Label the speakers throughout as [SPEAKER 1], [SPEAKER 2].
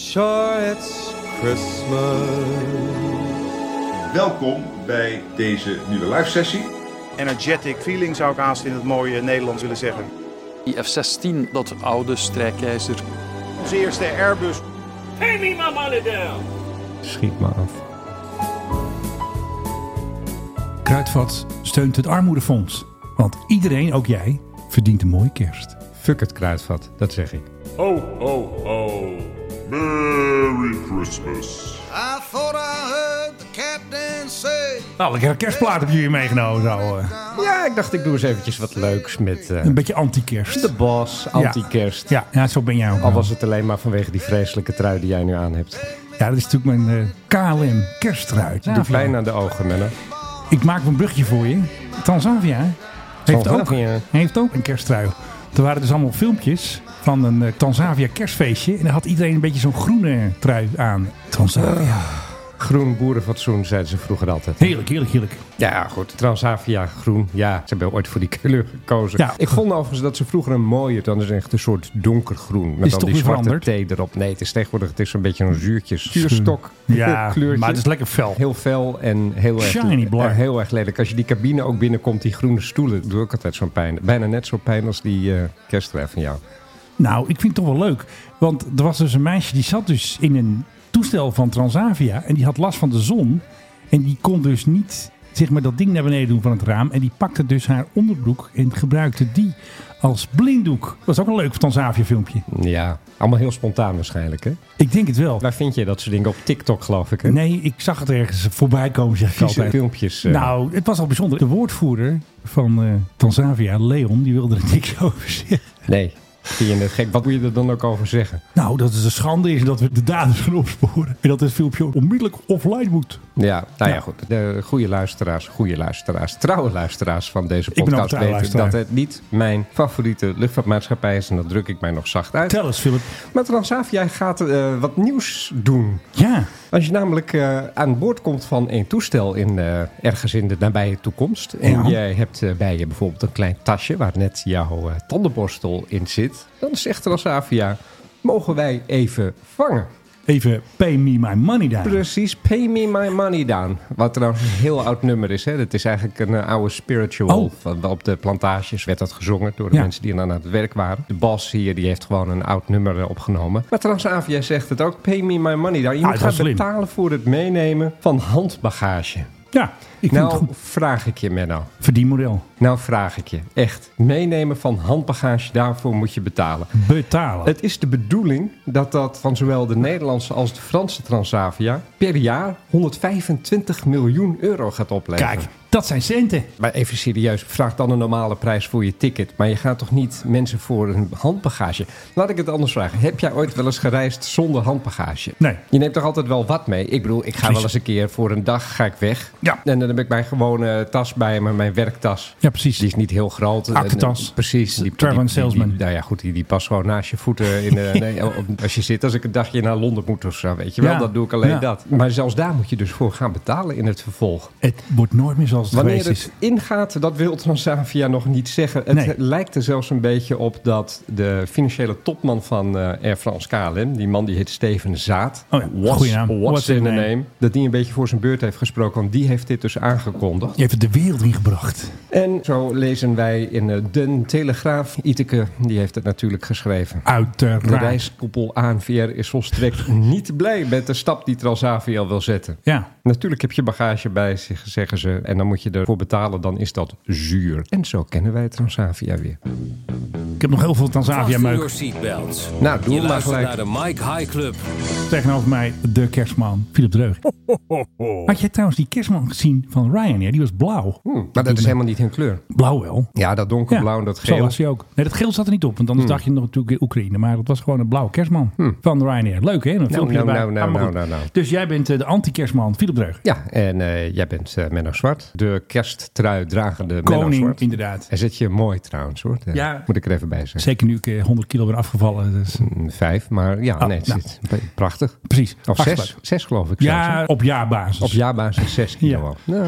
[SPEAKER 1] Sure, it's Christmas.
[SPEAKER 2] Welkom bij deze nieuwe live sessie.
[SPEAKER 3] energetic feeling zou ik haast in het mooie Nederlands willen zeggen.
[SPEAKER 4] Die F-16, dat oude strijkijzer.
[SPEAKER 3] Onze eerste Airbus.
[SPEAKER 5] Pay me my money down.
[SPEAKER 6] Schiet me af.
[SPEAKER 7] Kruidvat steunt het Armoedefonds. Want iedereen, ook jij, verdient een mooie kerst.
[SPEAKER 6] Fuck het kruidvat, dat zeg ik.
[SPEAKER 8] Ho, ho, ho. Merry Christmas.
[SPEAKER 9] I thought I heard the captain say,
[SPEAKER 7] Nou, lekker een kerstplaat heb je hier meegenomen. Zo, eh.
[SPEAKER 6] Ja, ik dacht ik doe eens eventjes wat leuks met eh,
[SPEAKER 7] Een beetje anti-kerst.
[SPEAKER 6] de bos, anti-kerst.
[SPEAKER 7] Ja, ja, zo ben jij ook.
[SPEAKER 6] Al
[SPEAKER 7] wel.
[SPEAKER 6] was het alleen maar vanwege die vreselijke trui die jij nu aan hebt.
[SPEAKER 7] Ja, dat is natuurlijk mijn eh, KLM kerstruit.
[SPEAKER 6] Doe pijn aan de ogen, Menno.
[SPEAKER 7] Ik maak een brugje voor je. Tanzania heeft ook,
[SPEAKER 6] Tanzania.
[SPEAKER 7] heeft ook een kersttrui. Er waren dus allemaal filmpjes van een eh, Tanzania kerstfeestje. En daar had iedereen een beetje zo'n groene trui aan. Tanzania.
[SPEAKER 6] Groen boerenfatsoen, zeiden ze vroeger altijd.
[SPEAKER 7] Heerlijk, heerlijk, heerlijk.
[SPEAKER 6] Ja, goed. Transavia groen. Ja, ze hebben ooit voor die kleur gekozen.
[SPEAKER 7] Ja.
[SPEAKER 6] Ik vond overigens dat ze vroeger een mooier, dan is het echt een soort donkergroen. Met
[SPEAKER 7] Is
[SPEAKER 6] dan
[SPEAKER 7] toch
[SPEAKER 6] die
[SPEAKER 7] weer
[SPEAKER 6] zwarte
[SPEAKER 7] veranderd?
[SPEAKER 6] thee erop. Nee, het is tegenwoordig het is een beetje een zuurtjes. Zuurstok
[SPEAKER 7] Ja,
[SPEAKER 6] kleurtje.
[SPEAKER 7] maar het is lekker fel.
[SPEAKER 6] Heel fel en heel erg,
[SPEAKER 7] Shiny black.
[SPEAKER 6] eh, heel erg lelijk. Als je die cabine ook binnenkomt, die groene stoelen, dat doe ik altijd zo'n pijn. Bijna net zo pijn als die eh kersttrui van jou.
[SPEAKER 7] Nou, ik vind het toch wel leuk. Want er was dus een meisje die zat dus in een toestel van Transavia. En die had last van de zon. En die kon dus niet zeg maar, dat ding naar beneden doen van het raam. En die pakte dus haar onderbroek en gebruikte die als blinddoek. Dat is ook een leuk Transavia filmpje.
[SPEAKER 6] Ja, allemaal heel spontaan waarschijnlijk. Hè?
[SPEAKER 7] Ik denk het wel.
[SPEAKER 6] Waar vind je dat soort dingen? Op TikTok geloof ik. Hè?
[SPEAKER 7] Nee, ik zag het ergens voorbij komen, zeg ik
[SPEAKER 6] Vieze
[SPEAKER 7] altijd.
[SPEAKER 6] filmpjes. eh.
[SPEAKER 7] Nou, het was al bijzonder. De woordvoerder van eh, Transavia, Leon, die wilde er niks over zeggen.
[SPEAKER 6] Nee, vind je het gek? Wat moet je er dan ook over zeggen?
[SPEAKER 7] Nou, dat het een schande is en dat we de daders gaan opsporen. En dat het filmpje onmiddellijk offline moet.
[SPEAKER 6] Ja, nou ja,
[SPEAKER 7] Ja.
[SPEAKER 6] goed. De goede luisteraars, goede luisteraars, trouwe luisteraars van deze
[SPEAKER 7] ben ook
[SPEAKER 6] podcast
[SPEAKER 7] trouwe
[SPEAKER 6] weten
[SPEAKER 7] luisteraar.
[SPEAKER 6] dat het niet mijn favoriete luchtvaartmaatschappij is. En dat druk ik mij nog zacht uit.
[SPEAKER 7] Tel eens, Philip.
[SPEAKER 6] Maar Transavia gaat eh, wat nieuws doen.
[SPEAKER 7] Ja,
[SPEAKER 6] Als je namelijk eh, aan boord komt van een toestel in, eh, ergens in de nabije toekomst. En
[SPEAKER 7] Ja.
[SPEAKER 6] jij hebt eh, bij je bijvoorbeeld een klein tasje waar net jouw eh, tandenborstel in zit. Dan zegt Transavia, mogen wij even vangen?
[SPEAKER 7] even pay me my money daar.
[SPEAKER 6] Precies, Pay Me My Money Down. Wat trouwens een heel oud nummer is. Hè? Dat is eigenlijk een eh, oude spiritual.
[SPEAKER 7] Oh.
[SPEAKER 6] Van, op de plantages werd dat gezongen door de
[SPEAKER 7] Ja.
[SPEAKER 6] mensen die dan aan het werk waren. De bas hier die heeft gewoon een oud nummer eh, opgenomen. Maar Transavia zegt het ook, Pay Me My Money Down.
[SPEAKER 7] Ah,
[SPEAKER 6] Je moet
[SPEAKER 7] dat is
[SPEAKER 6] gaan
[SPEAKER 7] slim.
[SPEAKER 6] betalen voor het meenemen van handbagage.
[SPEAKER 7] Ja, ik vind het
[SPEAKER 6] Nou
[SPEAKER 7] goed.
[SPEAKER 6] vraag ik je, Menno.
[SPEAKER 7] Verdienmodel.
[SPEAKER 6] Nou vraag ik je. Echt, meenemen van handbagage, daarvoor moet je betalen.
[SPEAKER 7] Betalen.
[SPEAKER 6] Het is de bedoeling dat dat van zowel de Nederlandse als de Franse Transavia per jaar 125 miljoen euro gaat opleveren.
[SPEAKER 7] Kijk, dat zijn centen.
[SPEAKER 6] Maar even serieus, vraag dan een normale prijs voor je ticket. Maar je gaat toch niet mensen voor een handbagage? Laat ik het anders vragen. Heb jij ooit wel eens gereisd zonder handbagage?
[SPEAKER 7] Nee.
[SPEAKER 6] Je neemt toch altijd wel wat mee? Ik bedoel, ik ga
[SPEAKER 7] Precies.
[SPEAKER 6] wel eens een keer voor een dag ga ik weg.
[SPEAKER 7] Ja.
[SPEAKER 6] En dan heb ik mijn gewone tas bij me, mijn werktas.
[SPEAKER 7] Ja, precies.
[SPEAKER 6] Dus Die is niet heel groot.
[SPEAKER 7] Aktentas.
[SPEAKER 6] En, eh, Precies. Die,
[SPEAKER 7] Traveling
[SPEAKER 6] die- die-
[SPEAKER 7] salesman.
[SPEAKER 6] die- nou ja, goed. Die, die past gewoon naast je voeten. In, eh, nee, op- als je zit, als ik een dagje naar Londen moet of zo, weet je wel.
[SPEAKER 7] Ja.
[SPEAKER 6] Dan doe ik alleen
[SPEAKER 7] Ja.
[SPEAKER 6] dat. Maar zelfs daar moet je dus voor gaan betalen in het vervolg.
[SPEAKER 7] Het wordt nooit meer zoals het
[SPEAKER 6] Wanneer
[SPEAKER 7] geweest
[SPEAKER 6] het
[SPEAKER 7] is.
[SPEAKER 6] ingaat, dat wil Transavia nog niet zeggen. Het
[SPEAKER 7] Nee.
[SPEAKER 6] lijkt er zelfs een beetje op dat de financiële topman van eh, Air France KLM, die man die heet Steven Zaat,
[SPEAKER 7] Oh ja, goeie naam.
[SPEAKER 6] what's, in the name, dat die een beetje voor zijn beurt heeft gesproken, want die heeft dit dus aangekondigd.
[SPEAKER 7] Je hebt het de wereld ingebracht.
[SPEAKER 6] En zo lezen wij in eh, Den Telegraaf, Iteke, die heeft het natuurlijk geschreven. De
[SPEAKER 7] Uiteraard.
[SPEAKER 6] reiskoepel ANVR is volstrekt niet blij met de stap die Transavia wil zetten.
[SPEAKER 7] Ja,
[SPEAKER 6] Natuurlijk heb je bagage bij zich, zeggen ze. En dan moet je ervoor betalen, dan is dat zuur. En zo kennen wij Transavia weer.
[SPEAKER 7] Oh, ik heb nog heel veel Tanzania meuk
[SPEAKER 10] seatbelts.
[SPEAKER 6] Nou, doe hem maar gelijk.
[SPEAKER 10] de Mike High Club.
[SPEAKER 7] tegenover mij. De kerstman, Philip Dreug. Had jij trouwens die kerstman gezien van Ryanair? Die was blauw.
[SPEAKER 6] Hm, maar dat is helemaal niet hun kleur.
[SPEAKER 7] Blauw wel.
[SPEAKER 6] Ja, dat donkerblauw en dat
[SPEAKER 7] Zo
[SPEAKER 6] geel. Hmm.
[SPEAKER 7] was hij ook. Nee, dat geel zat er niet op. Want anders dacht je nog natuurlijk Oekraïne. Maar het was gewoon een blauwe kerstman van Ryanair. Leuk hè? Een filmpje
[SPEAKER 6] nou,
[SPEAKER 7] erbij.
[SPEAKER 6] nou, nou,
[SPEAKER 7] Ah, maar goed.
[SPEAKER 6] nou, nou, nou.
[SPEAKER 7] Dus jij bent eh, de anti-kerstman, Philip Dreug.
[SPEAKER 6] Ja, en eh, jij bent eh, Menno Zwart. De kersttrui dragende Menno
[SPEAKER 7] Koning,
[SPEAKER 6] Zwart.
[SPEAKER 7] inderdaad.
[SPEAKER 6] Hij zet je mooi trouwens hoor. Eh,
[SPEAKER 7] Ja.
[SPEAKER 6] Moet ik er even bij zeggen.
[SPEAKER 7] Zeker nu ik eh, 100 kilo ben afgevallen. Dus.
[SPEAKER 6] Mm, Vijf, maar ja,
[SPEAKER 7] Oh,
[SPEAKER 6] nee, het
[SPEAKER 7] nou.
[SPEAKER 6] zit prachtig.
[SPEAKER 7] Precies.
[SPEAKER 6] Of
[SPEAKER 7] Hartstikke
[SPEAKER 6] zes,
[SPEAKER 7] leuk.
[SPEAKER 6] zes geloof ik. zelfs, hè?
[SPEAKER 7] dus- Ja, op jaarbasis.
[SPEAKER 6] Op jaarbasis zes kilo. Ja.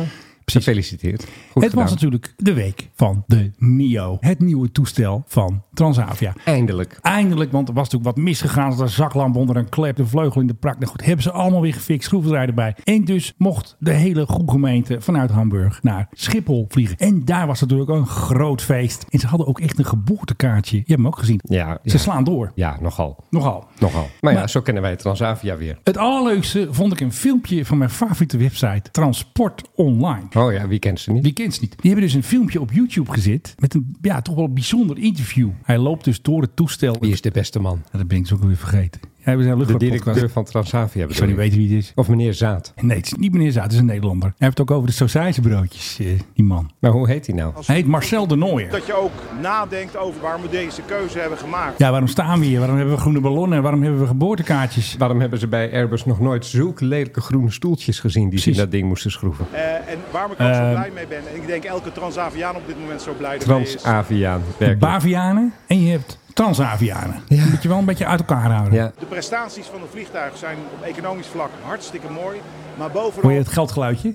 [SPEAKER 6] Gefeliciteerd. Goed
[SPEAKER 7] het
[SPEAKER 6] gedaan.
[SPEAKER 7] was natuurlijk de week van de NIO. Het nieuwe toestel van Transavia.
[SPEAKER 6] Eindelijk.
[SPEAKER 7] Eindelijk, want er was natuurlijk wat misgegaan. Er zat een zaklamp onder een klep, de vleugel in de prak. Nou goed, hebben ze allemaal weer gefixt, schroevendraaier erbij. En dus mocht de hele goede gemeente vanuit Hamburg naar Schiphol vliegen. En daar was natuurlijk een groot feest. En ze hadden ook echt een geboortekaartje. Je hebt hem ook gezien.
[SPEAKER 6] Ja,
[SPEAKER 7] Ze
[SPEAKER 6] ja,
[SPEAKER 7] slaan door.
[SPEAKER 6] ja, nogal.
[SPEAKER 7] Nogal.
[SPEAKER 6] Nogal. Maar ja,
[SPEAKER 7] Maar-
[SPEAKER 6] zo kennen wij Transavia weer.
[SPEAKER 7] Het allerleukste vond ik een filmpje van mijn favoriete website, Transport Online.
[SPEAKER 6] Oh ja, wie kent ze niet?
[SPEAKER 7] Die kent ze niet. Die hebben dus een filmpje op YouTube gezet met een ja, toch wel een bijzonder interview. Hij loopt dus door het toestel.
[SPEAKER 6] Wie is de beste man?
[SPEAKER 7] Ja, dat ben ik zo ook weer vergeten. Ja, we zijn
[SPEAKER 6] De
[SPEAKER 7] luchtvaartpodcast.
[SPEAKER 6] directeur van Transavia.
[SPEAKER 7] Ik
[SPEAKER 6] bedoel
[SPEAKER 7] zou niet
[SPEAKER 6] ik.
[SPEAKER 7] weten wie het is.
[SPEAKER 6] Of meneer Zaad.
[SPEAKER 7] Nee, het is niet meneer Zaat, het is een Nederlander. Hij heeft het ook over de sausijzenbroodjes, eh, die man.
[SPEAKER 6] Maar hoe heet hij nou?
[SPEAKER 7] Hij heet Marcel de Nooijer.
[SPEAKER 3] Dat je ook nadenkt over waarom we deze keuze hebben gemaakt.
[SPEAKER 7] Ja, waarom staan we hier? Waarom hebben we groene ballonnen? Waarom hebben we geboortekaartjes?
[SPEAKER 6] Waarom hebben ze bij Airbus nog nooit zulke lelijke groene stoeltjes gezien die ze in
[SPEAKER 7] Precies.
[SPEAKER 6] dat ding moesten schroeven?
[SPEAKER 3] Eh, en waarom ik ook zo
[SPEAKER 6] Ehm,
[SPEAKER 7] Eh.
[SPEAKER 3] blij mee ben. En ik denk elke Transaviaan op dit moment zo blij ermee is.
[SPEAKER 6] Ah. Transaviaan, werkelijk.
[SPEAKER 7] Bavianen en je hebt Transavianen.
[SPEAKER 6] Ja.
[SPEAKER 7] Die moet je wel een beetje uit elkaar houden.
[SPEAKER 6] Ja,
[SPEAKER 3] De prestaties van het vliegtuig zijn op economisch vlak hartstikke mooi. Maar
[SPEAKER 7] Hoor
[SPEAKER 3] bovenal...
[SPEAKER 7] je het geldgeluidje?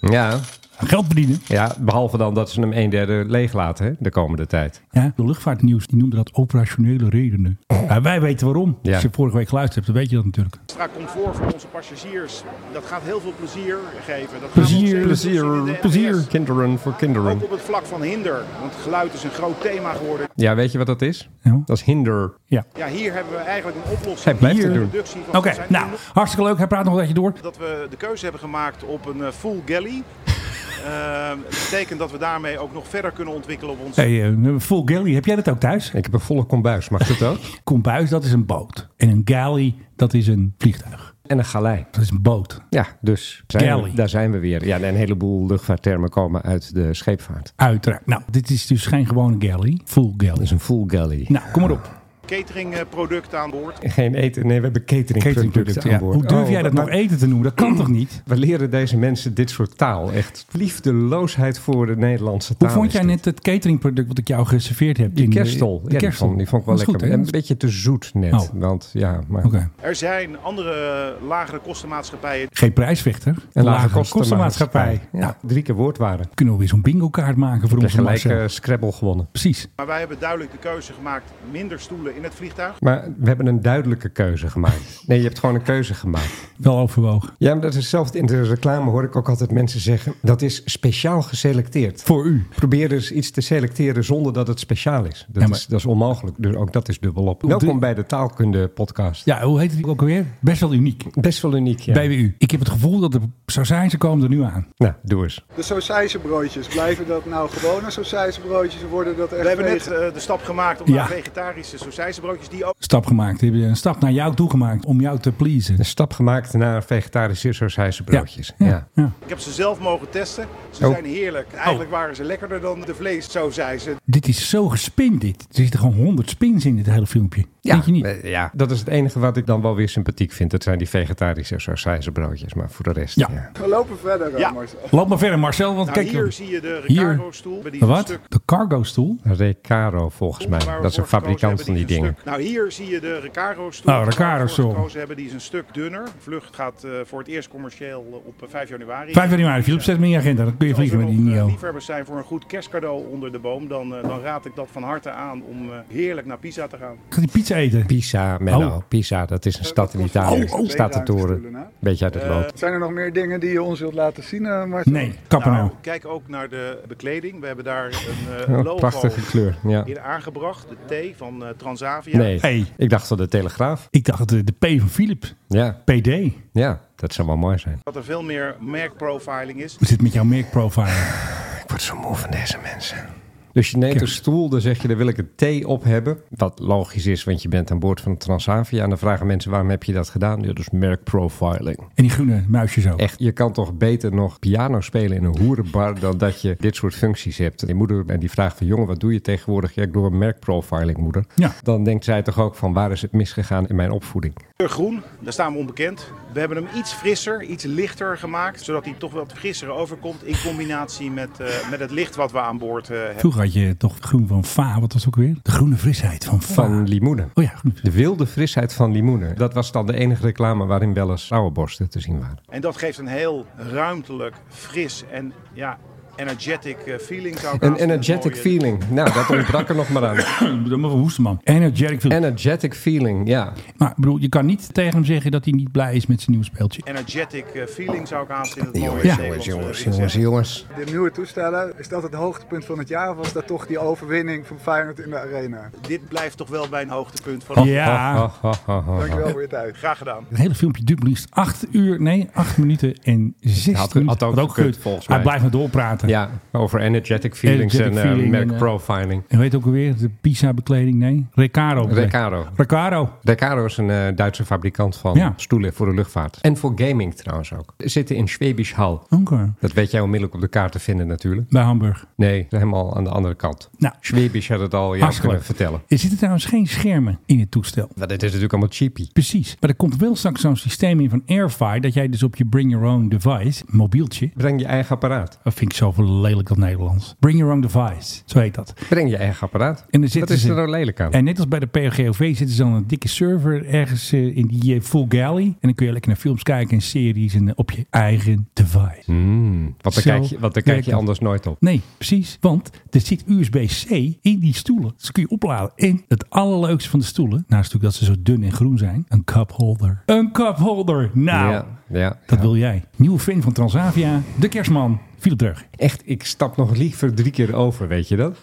[SPEAKER 6] ja,
[SPEAKER 7] Geld verdienen.
[SPEAKER 6] ja, behalve dan dat ze hem een derde leeg laten hè, de komende tijd.
[SPEAKER 7] Ja, de luchtvaartnieuws die noemde dat operationele redenen. Maar wij weten waarom.
[SPEAKER 6] Ja.
[SPEAKER 7] Als je vorige week geluisterd hebt, dan weet je dat natuurlijk.
[SPEAKER 3] extra comfort voor onze passagiers. Dat gaat heel veel plezier geven. Dat gaan we nog
[SPEAKER 6] Plezier,
[SPEAKER 3] steeds doen in de NS.
[SPEAKER 6] plezier, plezier. Kinderen voor kinderen.
[SPEAKER 3] Ook op het vlak van hinder, want geluid is een groot thema geworden.
[SPEAKER 6] Ja, weet je wat dat is?
[SPEAKER 7] Ja.
[SPEAKER 6] Dat is hinder.
[SPEAKER 7] Ja.
[SPEAKER 3] Ja, hier hebben we eigenlijk een oplossing.
[SPEAKER 6] Hij blijft
[SPEAKER 3] Hier.
[SPEAKER 6] het doen.
[SPEAKER 3] Reductie van
[SPEAKER 7] Oké,
[SPEAKER 3] zijn
[SPEAKER 7] nou, hartstikke leuk. Hij praat nog een beetje door.
[SPEAKER 3] Dat we de keuze hebben gemaakt op een eh, full galley. Eh, dat betekent dat we daarmee ook nog verder kunnen ontwikkelen op ons...
[SPEAKER 7] Hey, eh, full galley, heb jij dat ook thuis?
[SPEAKER 6] Ik heb een volle kombuis, mag dat ook?
[SPEAKER 7] Kombuis, dat is een boot. En een galley, dat is een vliegtuig.
[SPEAKER 6] En een galei.
[SPEAKER 7] Dat is een boot.
[SPEAKER 6] Ja, dus zijn we,
[SPEAKER 7] Galley.
[SPEAKER 6] daar zijn we weer. Ja, en een heleboel luchtvaarttermen komen uit de scheepvaart.
[SPEAKER 7] Uiteraard. Nou, dit is dus geen gewone galley. Full
[SPEAKER 6] Dat
[SPEAKER 7] galley.
[SPEAKER 6] is een full galley.
[SPEAKER 7] Nou, kom maar op.
[SPEAKER 3] cateringproduct aan boord.
[SPEAKER 6] Geen eten. Nee, we hebben cateringproducten
[SPEAKER 7] Cateringproducten,
[SPEAKER 6] aan
[SPEAKER 7] ja.
[SPEAKER 6] boord.
[SPEAKER 7] Hoe durf
[SPEAKER 6] Oh,
[SPEAKER 7] jij dat nou
[SPEAKER 6] maar
[SPEAKER 7] nog eten te noemen? Dat kan toch niet?
[SPEAKER 6] We leren deze mensen dit soort taal. Echt liefdeloosheid voor de Nederlandse taal.
[SPEAKER 7] Hoe vond
[SPEAKER 6] is
[SPEAKER 7] jij
[SPEAKER 6] dit.
[SPEAKER 7] net het cateringproduct wat ik jou geserveerd heb?
[SPEAKER 6] Die
[SPEAKER 7] in de-
[SPEAKER 6] kerstol.
[SPEAKER 7] De
[SPEAKER 6] Ja, die
[SPEAKER 7] kerstel.
[SPEAKER 6] vond, die vond ik wel
[SPEAKER 7] Dat is
[SPEAKER 6] lekker.
[SPEAKER 7] goed, hè?
[SPEAKER 6] een beetje te zoet net.
[SPEAKER 7] Oh.
[SPEAKER 6] Want ja, maar...
[SPEAKER 7] Oké.
[SPEAKER 3] Er zijn andere eh, lagere kostenmaatschappijen
[SPEAKER 7] Geen prijsvechter.
[SPEAKER 6] Een
[SPEAKER 7] Een
[SPEAKER 6] lage
[SPEAKER 7] lage
[SPEAKER 6] kostenmaatschappij.
[SPEAKER 7] kostenmaatschappij. Nou,
[SPEAKER 6] Ja, drie keer woordwaarde.
[SPEAKER 7] Kunnen we weer zo'n bingo kaart maken voor
[SPEAKER 6] En
[SPEAKER 7] onze
[SPEAKER 6] gelijk
[SPEAKER 7] massa?
[SPEAKER 6] eh, Scrabble gewonnen.
[SPEAKER 7] Precies.
[SPEAKER 3] Maar wij hebben duidelijk de keuze gemaakt: minder stoelen in het vliegtuig.
[SPEAKER 6] Maar we hebben een duidelijke keuze gemaakt. Nee, je hebt gewoon een keuze gemaakt.
[SPEAKER 7] Wel overwogen.
[SPEAKER 6] Ja, maar dat is hetzelfde. In de reclame hoor ik ook altijd mensen zeggen... dat is speciaal geselecteerd.
[SPEAKER 7] Voor u.
[SPEAKER 6] Probeer dus iets te selecteren zonder dat het speciaal is. Dat,
[SPEAKER 7] Ja, maar-
[SPEAKER 6] is, dat is onmogelijk. Dus ook dat is dubbelop. Welkom bij de Taalkunde podcast.
[SPEAKER 7] Ja, hoe heet het ook alweer? Best wel uniek.
[SPEAKER 6] Best wel uniek. Ja.
[SPEAKER 7] BWU. Ik heb het gevoel dat de sausijzen komen er nu aan.
[SPEAKER 6] Nou, doe eens.
[SPEAKER 1] De sausijzenbroodjes, blijven dat nou gewone sausijzenbroodjes of worden dat echt
[SPEAKER 3] We hebben net
[SPEAKER 1] vege-
[SPEAKER 3] eh, de stap gemaakt om
[SPEAKER 7] Ja.
[SPEAKER 3] naar vegetarische sausijzenbroodjes, die ook
[SPEAKER 7] Stap gemaakt. Hebben een stap naar jou toe gemaakt om jou te pleasen.
[SPEAKER 6] Een stap gemaakt naar vegetarische sausijse broodjes. Ja.
[SPEAKER 7] Ja. ja.
[SPEAKER 3] Ik heb ze zelf mogen testen. Ze
[SPEAKER 6] Oh.
[SPEAKER 3] zijn heerlijk.
[SPEAKER 7] Oh.
[SPEAKER 3] Eigenlijk waren ze lekkerder dan de vlees, zo zei ze.
[SPEAKER 7] Dit is zo gespind dit. Er zitten gewoon honderd spins in dit hele filmpje. Denk je niet?
[SPEAKER 6] eh, ja, dat is het enige wat ik dan wel weer sympathiek vind. Dat zijn die vegetarische sausijse broodjes. Maar voor de rest, ja.
[SPEAKER 7] Ja.
[SPEAKER 1] We lopen verder,
[SPEAKER 3] Ja.
[SPEAKER 1] ja. Marcel.
[SPEAKER 7] Loop maar verder Marcel, want
[SPEAKER 3] Nou,
[SPEAKER 7] kijk...
[SPEAKER 3] hier
[SPEAKER 7] joh.
[SPEAKER 3] zie je de
[SPEAKER 7] Hier.
[SPEAKER 3] Ricardo-stoel. Die
[SPEAKER 7] De
[SPEAKER 3] een
[SPEAKER 7] wat?
[SPEAKER 3] stuk-
[SPEAKER 7] De cargo stoel?
[SPEAKER 6] Recaro volgens mij.
[SPEAKER 3] waar we
[SPEAKER 6] Dat is een
[SPEAKER 3] voor
[SPEAKER 6] fabrikant van
[SPEAKER 3] gekozen
[SPEAKER 6] die
[SPEAKER 3] hebben,
[SPEAKER 6] dingen. Nou,
[SPEAKER 3] is een stuk- Nou, hier zie je de Recaro-stoel.
[SPEAKER 7] Oh,
[SPEAKER 3] waar we
[SPEAKER 7] Recaro-stoel.
[SPEAKER 3] voor gekozen hebben, die is een stuk dunner. De vlucht gaat eh, voor het eerst commercieel eh, op eh, 5 januari.
[SPEAKER 7] 5 januari, Philip, zet me in je agenda. Dan kun je
[SPEAKER 3] Als er
[SPEAKER 7] vliegen met die
[SPEAKER 3] nog, eh,
[SPEAKER 7] NIO.
[SPEAKER 3] liefhebbers zijn voor een goed kerstcadeau onder de boom, dan, eh, dan raad ik dat van harte aan om eh, heerlijk naar Pisa te gaan.
[SPEAKER 7] Gaat die pizza eten?
[SPEAKER 6] Pisa, Menno.
[SPEAKER 7] Oh.
[SPEAKER 6] Pisa, dat is een stad in
[SPEAKER 1] kost het?
[SPEAKER 6] Italië.
[SPEAKER 1] Oh, oh.
[SPEAKER 6] Staat te
[SPEAKER 1] Twee ruimte
[SPEAKER 6] toren.
[SPEAKER 1] stoelen,
[SPEAKER 6] Beetje uit het lood.
[SPEAKER 1] Zijn er nog meer dingen die je ons wilt laten zien, eh, Marcel?
[SPEAKER 7] Nee, kapper nou.
[SPEAKER 3] kijk ook naar de bekleding. We hebben daar een eh,
[SPEAKER 6] Oh,
[SPEAKER 3] logo
[SPEAKER 6] prachtige kleur. Ja.
[SPEAKER 3] in aangebracht. De T van eh, Transavia.
[SPEAKER 6] Nee,
[SPEAKER 7] Hey.
[SPEAKER 6] ik dacht van de Telegraaf.
[SPEAKER 7] Ik dacht de, de P van Philip.
[SPEAKER 6] Ja,
[SPEAKER 7] PD.
[SPEAKER 6] ja, dat zou wel mooi zijn.
[SPEAKER 3] Dat er veel meer merkprofiling is.
[SPEAKER 7] Hoe zit het met jouw merkprofile?
[SPEAKER 6] Ik word zo moe van deze mensen. Dus je neemt een
[SPEAKER 7] Kijk.
[SPEAKER 6] stoel, dan zeg je, daar wil ik een T op hebben. Wat logisch is, want je bent aan boord van Transavia. En dan vragen mensen, waarom heb je dat gedaan? Ja, dus merkprofiling.
[SPEAKER 7] En die groene muisjes ook.
[SPEAKER 6] Echt, je kan toch beter nog piano spelen in een hoerenbar... dan dat je dit soort functies hebt. En je moeder en die vraagt van, jongen, wat doe je tegenwoordig? Ja, ik doe een merkprofiling, moeder.
[SPEAKER 7] Ja.
[SPEAKER 6] Dan denkt zij toch ook van, waar is het misgegaan in mijn opvoeding?
[SPEAKER 3] Kleur groen, daar staan we onbekend. We hebben hem iets frisser, iets lichter gemaakt. Zodat hij toch wat frisser overkomt. In combinatie met, eh, met het licht wat we aan boord eh, hebben.
[SPEAKER 7] Vroeger had had je toch groen van Fa, wat was het ook weer? De groene frisheid van Fa.
[SPEAKER 6] Van limoenen.
[SPEAKER 7] Oh ja, groene frisheid.
[SPEAKER 6] De wilde frisheid van limoenen. Dat was dan de enige reclame waarin wel eens vrouwenborsten te zien waren.
[SPEAKER 3] En dat geeft een heel ruimtelijk, fris en ja, energetic eh, feeling. Zou ik
[SPEAKER 6] Een
[SPEAKER 3] haast een
[SPEAKER 6] energetic
[SPEAKER 3] mooie-
[SPEAKER 6] feelling. Nou, dat ontbrak er nog maar aan.
[SPEAKER 7] Dan maar hoesten, man. Energetic Philip.
[SPEAKER 6] Energetic feeling, ja.
[SPEAKER 7] Maar ik bedoel, je kan niet tegen hem zeggen dat hij niet blij is met zijn nieuw speeltje.
[SPEAKER 3] Energetic eh, feeling zou ik haast in het mooie
[SPEAKER 6] Jongens,
[SPEAKER 3] Nederlands,
[SPEAKER 6] jongens,
[SPEAKER 3] eh,
[SPEAKER 6] jongens,
[SPEAKER 3] willen
[SPEAKER 6] jongens,
[SPEAKER 3] zeggen.
[SPEAKER 6] jongens.
[SPEAKER 1] De nieuwe toestellen, is dat het hoogtepunt van het jaar of was dat toch die overwinning van Feyenoord in de arena?
[SPEAKER 3] Dit blijft toch wel mijn hoogtepunt van
[SPEAKER 7] Ja.
[SPEAKER 6] Ha, ha, ha, ha, ha.
[SPEAKER 1] Dankjewel voor je tijd.
[SPEAKER 3] Graag gedaan.
[SPEAKER 7] Het hele filmpje duurt maar liefst 8 uur, nee, 8 minuten en 16
[SPEAKER 6] Had- had
[SPEAKER 7] minuten.
[SPEAKER 6] ook
[SPEAKER 7] Had
[SPEAKER 6] gekund,
[SPEAKER 7] gekund.
[SPEAKER 6] volgens
[SPEAKER 7] Hij
[SPEAKER 6] mij.
[SPEAKER 7] blijft maar doorpraten.
[SPEAKER 6] Ja, over energetic feelings
[SPEAKER 7] Energetic
[SPEAKER 6] en eh,
[SPEAKER 7] feeling en,
[SPEAKER 6] merk
[SPEAKER 7] eh,
[SPEAKER 6] profiling.
[SPEAKER 7] En weet ook alweer, de Pisa-bekleding, nee. Recaro.
[SPEAKER 6] Recaro.
[SPEAKER 7] Recaro.
[SPEAKER 6] Recaro is een eh, Duitse fabrikant van
[SPEAKER 7] Ja.
[SPEAKER 6] stoelen voor de luchtvaart. En voor gaming trouwens ook. Ze zitten in Schwäbisch Hall.
[SPEAKER 7] Oké.
[SPEAKER 6] Dat weet jij onmiddellijk op de kaart te vinden natuurlijk.
[SPEAKER 7] Bij Hamburg.
[SPEAKER 6] Nee, helemaal aan de andere kant.
[SPEAKER 7] Nou,
[SPEAKER 6] Schwäbisch had het al jou
[SPEAKER 7] hartstikke
[SPEAKER 6] kunnen
[SPEAKER 7] leuk.
[SPEAKER 6] vertellen.
[SPEAKER 7] Er zitten trouwens geen schermen in het toestel.
[SPEAKER 6] Maar dit is natuurlijk allemaal cheapie.
[SPEAKER 7] Precies. Maar er komt wel straks zo'n systeem in van Airfy... dat jij dus op je bring your own device, mobieltje...
[SPEAKER 6] Breng je eigen apparaat.
[SPEAKER 7] Dat vind ik zoveel lelijk dat Nederlands. Bring your own device, zo heet dat.
[SPEAKER 6] Breng je eigen apparaat.
[SPEAKER 7] En dan
[SPEAKER 6] Wat
[SPEAKER 7] zitten
[SPEAKER 6] is
[SPEAKER 7] ze-
[SPEAKER 6] er nou lelijk aan?
[SPEAKER 7] En net als bij de POGOV zitten ze dan een dikke server ergens eh, in die eh, full galley. En dan kun je lekker naar films kijken en series en eh, op je eigen device.
[SPEAKER 6] Hmm, want dan
[SPEAKER 7] Zo
[SPEAKER 6] kijk je, want dan kijk
[SPEAKER 7] werkt
[SPEAKER 6] je
[SPEAKER 7] dat.
[SPEAKER 6] anders nooit op.
[SPEAKER 7] Nee, precies. Want er zit USB-C in die stoelen. Dus kun je opladen. En het allerleukste van de stoelen, naast natuurlijk dat ze zo dun en groen zijn, een cupholder. Een cupholder! Nou,
[SPEAKER 6] Ja, ja,
[SPEAKER 7] dat
[SPEAKER 6] ja.
[SPEAKER 7] wil jij. Nieuwe fan van Transavia, de kerstman, Philip Drug.
[SPEAKER 6] Echt, ik stap nog liever drie keer over, weet je dat?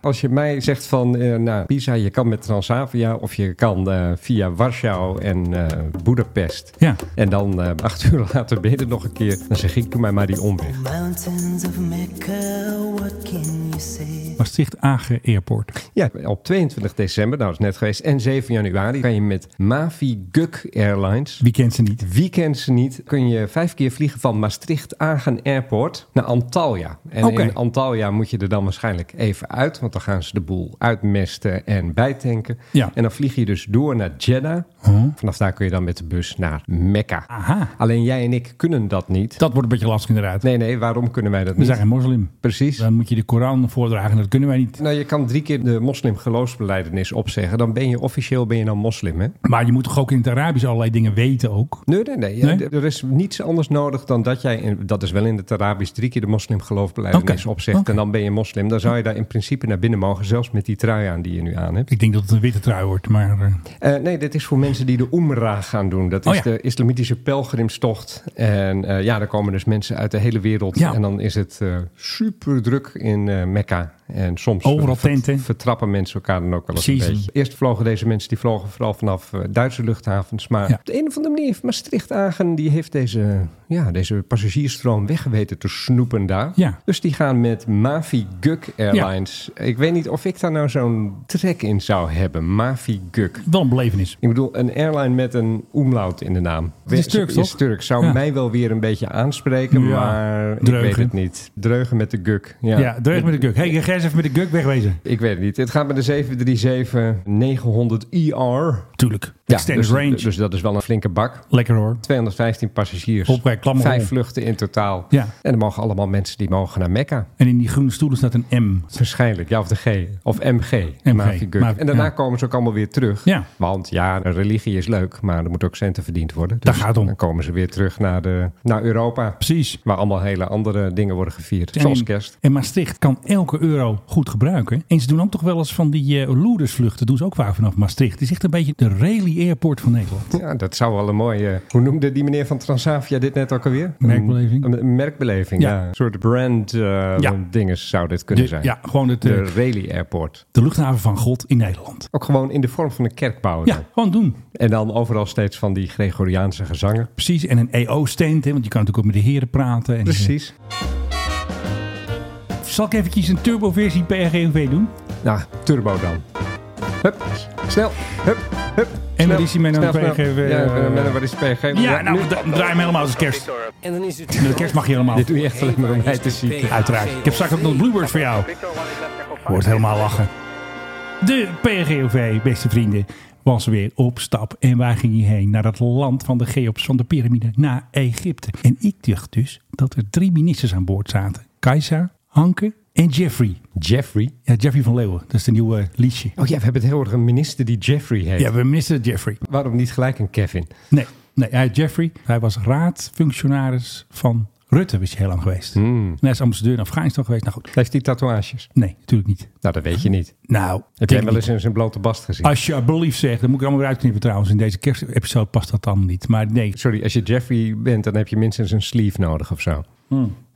[SPEAKER 6] Als je mij zegt van, eh, nou, Pisa, je kan met Transavia of je kan eh, via Warschau en eh Boedapest.
[SPEAKER 7] Ja.
[SPEAKER 6] En dan eh, acht uur later ben je er nog een keer. Dan zeg ik, doe mij maar die omweg.
[SPEAKER 10] Mountains of Mecca, what can you say?
[SPEAKER 7] Maastricht Agen Airport.
[SPEAKER 6] Ja, op 22 december, nou dat is net geweest, en 7 januari kan je met Maviguk Airlines...
[SPEAKER 7] Wie kent ze niet?
[SPEAKER 6] Weekends niet, kun je vijf keer vliegen van Maastricht Agen Airport naar Antalya. En
[SPEAKER 7] Oké.
[SPEAKER 6] in Antalya moet je er dan waarschijnlijk even uit, want dan gaan ze de boel uitmesten en bijtanken.
[SPEAKER 7] Ja.
[SPEAKER 6] En dan vlieg je dus door naar Jeddah. Vanaf daar kun je dan met de bus naar Mekka.
[SPEAKER 7] Aha.
[SPEAKER 6] Alleen jij en ik kunnen dat niet.
[SPEAKER 7] Dat wordt een beetje lastig inderdaad.
[SPEAKER 6] Nee, nee, waarom kunnen wij dat
[SPEAKER 7] We
[SPEAKER 6] niet?
[SPEAKER 7] zijn geen moslim.
[SPEAKER 6] Precies.
[SPEAKER 7] Dan moet je de Koran voordragen. Dat kunnen wij niet.
[SPEAKER 6] Nou, je kan drie keer de moslimgeloofsbeleidenis opzeggen. Dan ben je officieel ben je dan moslim, hè?
[SPEAKER 7] Maar je moet toch ook in het Arabisch allerlei dingen weten ook.
[SPEAKER 6] Nee, nee, nee. Ja,
[SPEAKER 7] Nee?
[SPEAKER 6] d- Er is niets anders nodig dan dat jij, in- dat is wel in het Arabisch, drie keer de moslimgeloofbeleidenis
[SPEAKER 7] Oké,
[SPEAKER 6] opzegt.
[SPEAKER 7] oké.
[SPEAKER 6] En dan ben je moslim. Dan zou je daar in principe naar binnen mogen, zelfs met die trui aan die je nu aan hebt.
[SPEAKER 7] Ik denk dat het een witte trui wordt, maar eh,
[SPEAKER 6] Eh, nee, dit is voor mensen die de Umrah gaan doen. Dat is
[SPEAKER 7] Oh ja.
[SPEAKER 6] de islamitische pelgrimstocht. En eh, ja, daar komen dus mensen uit de hele wereld.
[SPEAKER 7] Ja.
[SPEAKER 6] En dan is het eh, super druk in eh Mekka. En soms
[SPEAKER 7] Overal
[SPEAKER 6] ver-
[SPEAKER 7] tenten.
[SPEAKER 6] vertrappen mensen elkaar dan ook wel eens
[SPEAKER 7] Season.
[SPEAKER 6] een beetje. Eerst vlogen deze mensen, die vlogen vooral vanaf eh, Duitse luchthavens. Maar
[SPEAKER 7] Ja.
[SPEAKER 6] op de een of andere manier heeft Maastricht-Agen... die heeft deze, ja, deze passagiersstroom weggeweten te snoepen daar.
[SPEAKER 7] Ja.
[SPEAKER 6] Dus die gaan met Maviguk Airlines. Ik weet niet of ik daar nou zo'n trek in zou hebben. Maviguk.
[SPEAKER 7] wel een belevenis.
[SPEAKER 6] Ik bedoel, een airline met een umlaut in de naam.
[SPEAKER 7] Het is Turks,
[SPEAKER 6] Is
[SPEAKER 7] toch?
[SPEAKER 6] Turks. Zou
[SPEAKER 7] Ja.
[SPEAKER 6] mij wel weer een beetje aanspreken,
[SPEAKER 7] Ja.
[SPEAKER 6] maar ik
[SPEAKER 7] Dreugen.
[SPEAKER 6] weet het niet. Dreugen met de guk. Ja,
[SPEAKER 7] Ja, dreig met de guk. Hé, hey, ga eens even met de guk wegwezen.
[SPEAKER 6] Ik weet het niet. Het gaat met de 737-900ER.
[SPEAKER 7] Tuurlijk.
[SPEAKER 6] E Ja,
[SPEAKER 7] Extended
[SPEAKER 6] dus,
[SPEAKER 7] range.
[SPEAKER 6] dus dat is wel een flinke bak.
[SPEAKER 7] Lekker hoor.
[SPEAKER 6] 215 passagiers.
[SPEAKER 7] Hoppakee, klammer
[SPEAKER 6] Vijf
[SPEAKER 7] om.
[SPEAKER 6] vluchten in totaal.
[SPEAKER 7] Ja.
[SPEAKER 6] En er mogen allemaal mensen die mogen naar Mekka.
[SPEAKER 7] En in die groene stoelen staat een M.
[SPEAKER 6] Waarschijnlijk, ja, of de G. Of MG.
[SPEAKER 7] MG,
[SPEAKER 6] Mavi Gurk.
[SPEAKER 7] maar-
[SPEAKER 6] en daarna
[SPEAKER 7] ja.
[SPEAKER 6] komen ze ook allemaal weer terug.
[SPEAKER 7] Ja.
[SPEAKER 6] Want ja, religie is leuk, maar er moet ook centen verdiend worden. Dus
[SPEAKER 7] Daar gaat het om.
[SPEAKER 6] Dan komen ze weer terug naar, de, naar Europa.
[SPEAKER 7] Precies.
[SPEAKER 6] Waar allemaal hele andere dingen worden gevierd. zoals
[SPEAKER 7] in-
[SPEAKER 6] kerst.
[SPEAKER 7] En Maastricht kan elke euro goed gebruiken. En ze doen dan toch wel eens van die eh loedersvluchten. Doen ze ook vaak vanaf Maastricht. Het is echt een beetje de rally airport van Nederland.
[SPEAKER 6] Ja, dat zou wel een mooie... Hoe noemde die meneer van Transavia dit net ook alweer?
[SPEAKER 7] Merkbeleving.
[SPEAKER 6] Een, een merkbeleving, ja.
[SPEAKER 7] Ja.
[SPEAKER 6] Een soort brand eh dinges zou dit kunnen
[SPEAKER 7] De-
[SPEAKER 6] zijn.
[SPEAKER 7] ja, gewoon het, eh,
[SPEAKER 6] De Rally Airport.
[SPEAKER 7] De luchthaven van God in Nederland.
[SPEAKER 6] Ook gewoon in de vorm van een kerk bouwen.
[SPEAKER 7] Ja,
[SPEAKER 6] dan.
[SPEAKER 7] gewoon doen.
[SPEAKER 6] En dan overal steeds van die Gregoriaanse gezangen.
[SPEAKER 7] Precies. En een EO-stand, want je kan natuurlijk ook met de heren praten. En, eh,
[SPEAKER 6] Precies.
[SPEAKER 7] Zal ik eventjes een turboversie PRGOV doen?
[SPEAKER 6] Nou, turbo dan. Hup, snel, hup, hup.
[SPEAKER 7] En
[SPEAKER 6] snel,
[SPEAKER 7] waar is die Menno
[SPEAKER 6] snel, snel.
[SPEAKER 7] PG weer?
[SPEAKER 6] Ja, eh, Menno, waar is PG?
[SPEAKER 7] Ja, nou,
[SPEAKER 6] nu.
[SPEAKER 7] dra- draai hem helemaal als kerst.
[SPEAKER 10] En dan is het
[SPEAKER 7] De kerst mag je helemaal.
[SPEAKER 6] Dit doe je echt alleen maar om mij te zieken.
[SPEAKER 7] Uiteraard. Ik heb straks ook nog Bluebird voor jou. Wordt helemaal lachen. De PGOV, beste vrienden, was weer op stap. En waar ging hij heen? Naar het land van de Cheops van de piramide, naar Egypte. En ik dacht dus dat er drie ministers aan boord zaten. Kajsa, Hanke En Jeffrey.
[SPEAKER 6] Jeffrey.
[SPEAKER 7] Ja, Jeffrey van Leeuwen. Dat is de nieuwe liedje.
[SPEAKER 6] Oh ja, we hebben tegenwoordig een minister die Jeffrey heet.
[SPEAKER 7] Ja, we missen Jeffrey.
[SPEAKER 6] Waarom niet gelijk een Kevin?
[SPEAKER 7] Nee, nee hij, Jeffrey, hij was raadfunctionaris van Rutte, is hij heel lang geweest.
[SPEAKER 6] Hmm.
[SPEAKER 7] En hij is ambassadeur in Afghanistan geweest. Nou goed,
[SPEAKER 6] Heeft hij tatoeages?
[SPEAKER 7] nee, natuurlijk niet.
[SPEAKER 6] Nou, dat weet je niet.
[SPEAKER 7] Nou,
[SPEAKER 6] Heb jij
[SPEAKER 7] denk
[SPEAKER 6] hem wel
[SPEAKER 7] niet.
[SPEAKER 6] eens in zijn blote bast gezien?
[SPEAKER 7] Als je belief zegt, dan moet ik er allemaal weer uitknippen trouwens. In deze kerstepisode past dat dan niet. Maar nee,
[SPEAKER 6] Sorry, als je Jeffrey bent, dan heb je minstens een sleeve nodig of zo.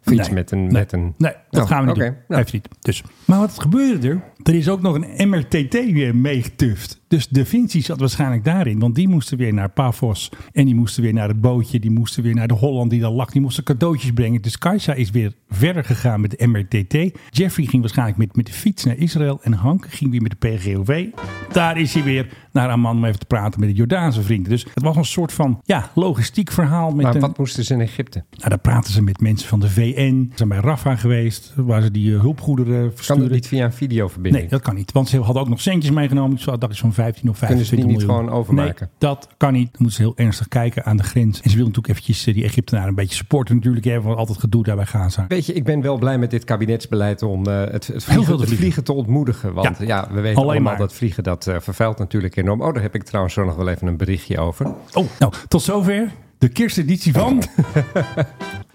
[SPEAKER 6] Of iets
[SPEAKER 7] Nee.
[SPEAKER 6] met een...
[SPEAKER 7] Nee.
[SPEAKER 6] Met een...
[SPEAKER 7] Nee, dat
[SPEAKER 6] Oh,
[SPEAKER 7] gaan we niet
[SPEAKER 6] oké.
[SPEAKER 7] doen.
[SPEAKER 6] Nou.
[SPEAKER 7] Even niet. Dus. Maar wat gebeurde er? Er is ook nog een MRTT weer meegetuft. Dus Da Vinci zat waarschijnlijk daarin. Want die moesten weer naar Pavos. En die moesten weer naar het bootje. Die moesten weer naar de Holland die daar lag. Die moesten cadeautjes brengen. Dus Kajsa is weer verder gegaan met de MRTT. Jeffrey ging waarschijnlijk met, met de fiets naar Israël. En Hank ging weer met de PGOV. Daar is hij weer naar Amman om even te praten met de Jordaanse vrienden. Dus het was een soort van ja, logistiek verhaal. Met
[SPEAKER 6] Maar
[SPEAKER 7] een,
[SPEAKER 6] wat moesten ze in Egypte?
[SPEAKER 7] nou, daar praten ze met mensen van de VN. Ze zijn bij Rafa geweest, waar ze die eh, hulpgoederen
[SPEAKER 6] Kan
[SPEAKER 7] versturen.
[SPEAKER 6] dat niet via een videoverbinding?
[SPEAKER 7] Nee, dat kan niet. Want ze hadden ook nog centjes meegenomen. Ik dacht iets van 15 of 25
[SPEAKER 6] Kunnen ze die niet
[SPEAKER 7] miljoen.
[SPEAKER 6] gewoon overmaken?
[SPEAKER 7] Nee, dat kan niet. Dan moeten ze heel ernstig kijken aan de grens. En ze wilden natuurlijk eventjes eh, die Egyptenaren een beetje supporten natuurlijk. Hebben want altijd gedoe daar bij Gaza.
[SPEAKER 6] Weet je, ik ben wel blij met dit kabinetsbeleid om eh, het, het,
[SPEAKER 7] veel te
[SPEAKER 6] vliegen, het
[SPEAKER 7] vliegen.
[SPEAKER 6] vliegen te ontmoedigen. Want
[SPEAKER 7] Ja,
[SPEAKER 6] ja, we weten
[SPEAKER 7] alleen
[SPEAKER 6] allemaal
[SPEAKER 7] maar.
[SPEAKER 6] dat vliegen dat eh, vervuilt natuurlijk enorm. Oh, daar heb ik trouwens zo nog wel even een berichtje over.
[SPEAKER 7] Oh, nou, tot zover de kersteditie
[SPEAKER 6] Oh,
[SPEAKER 7] van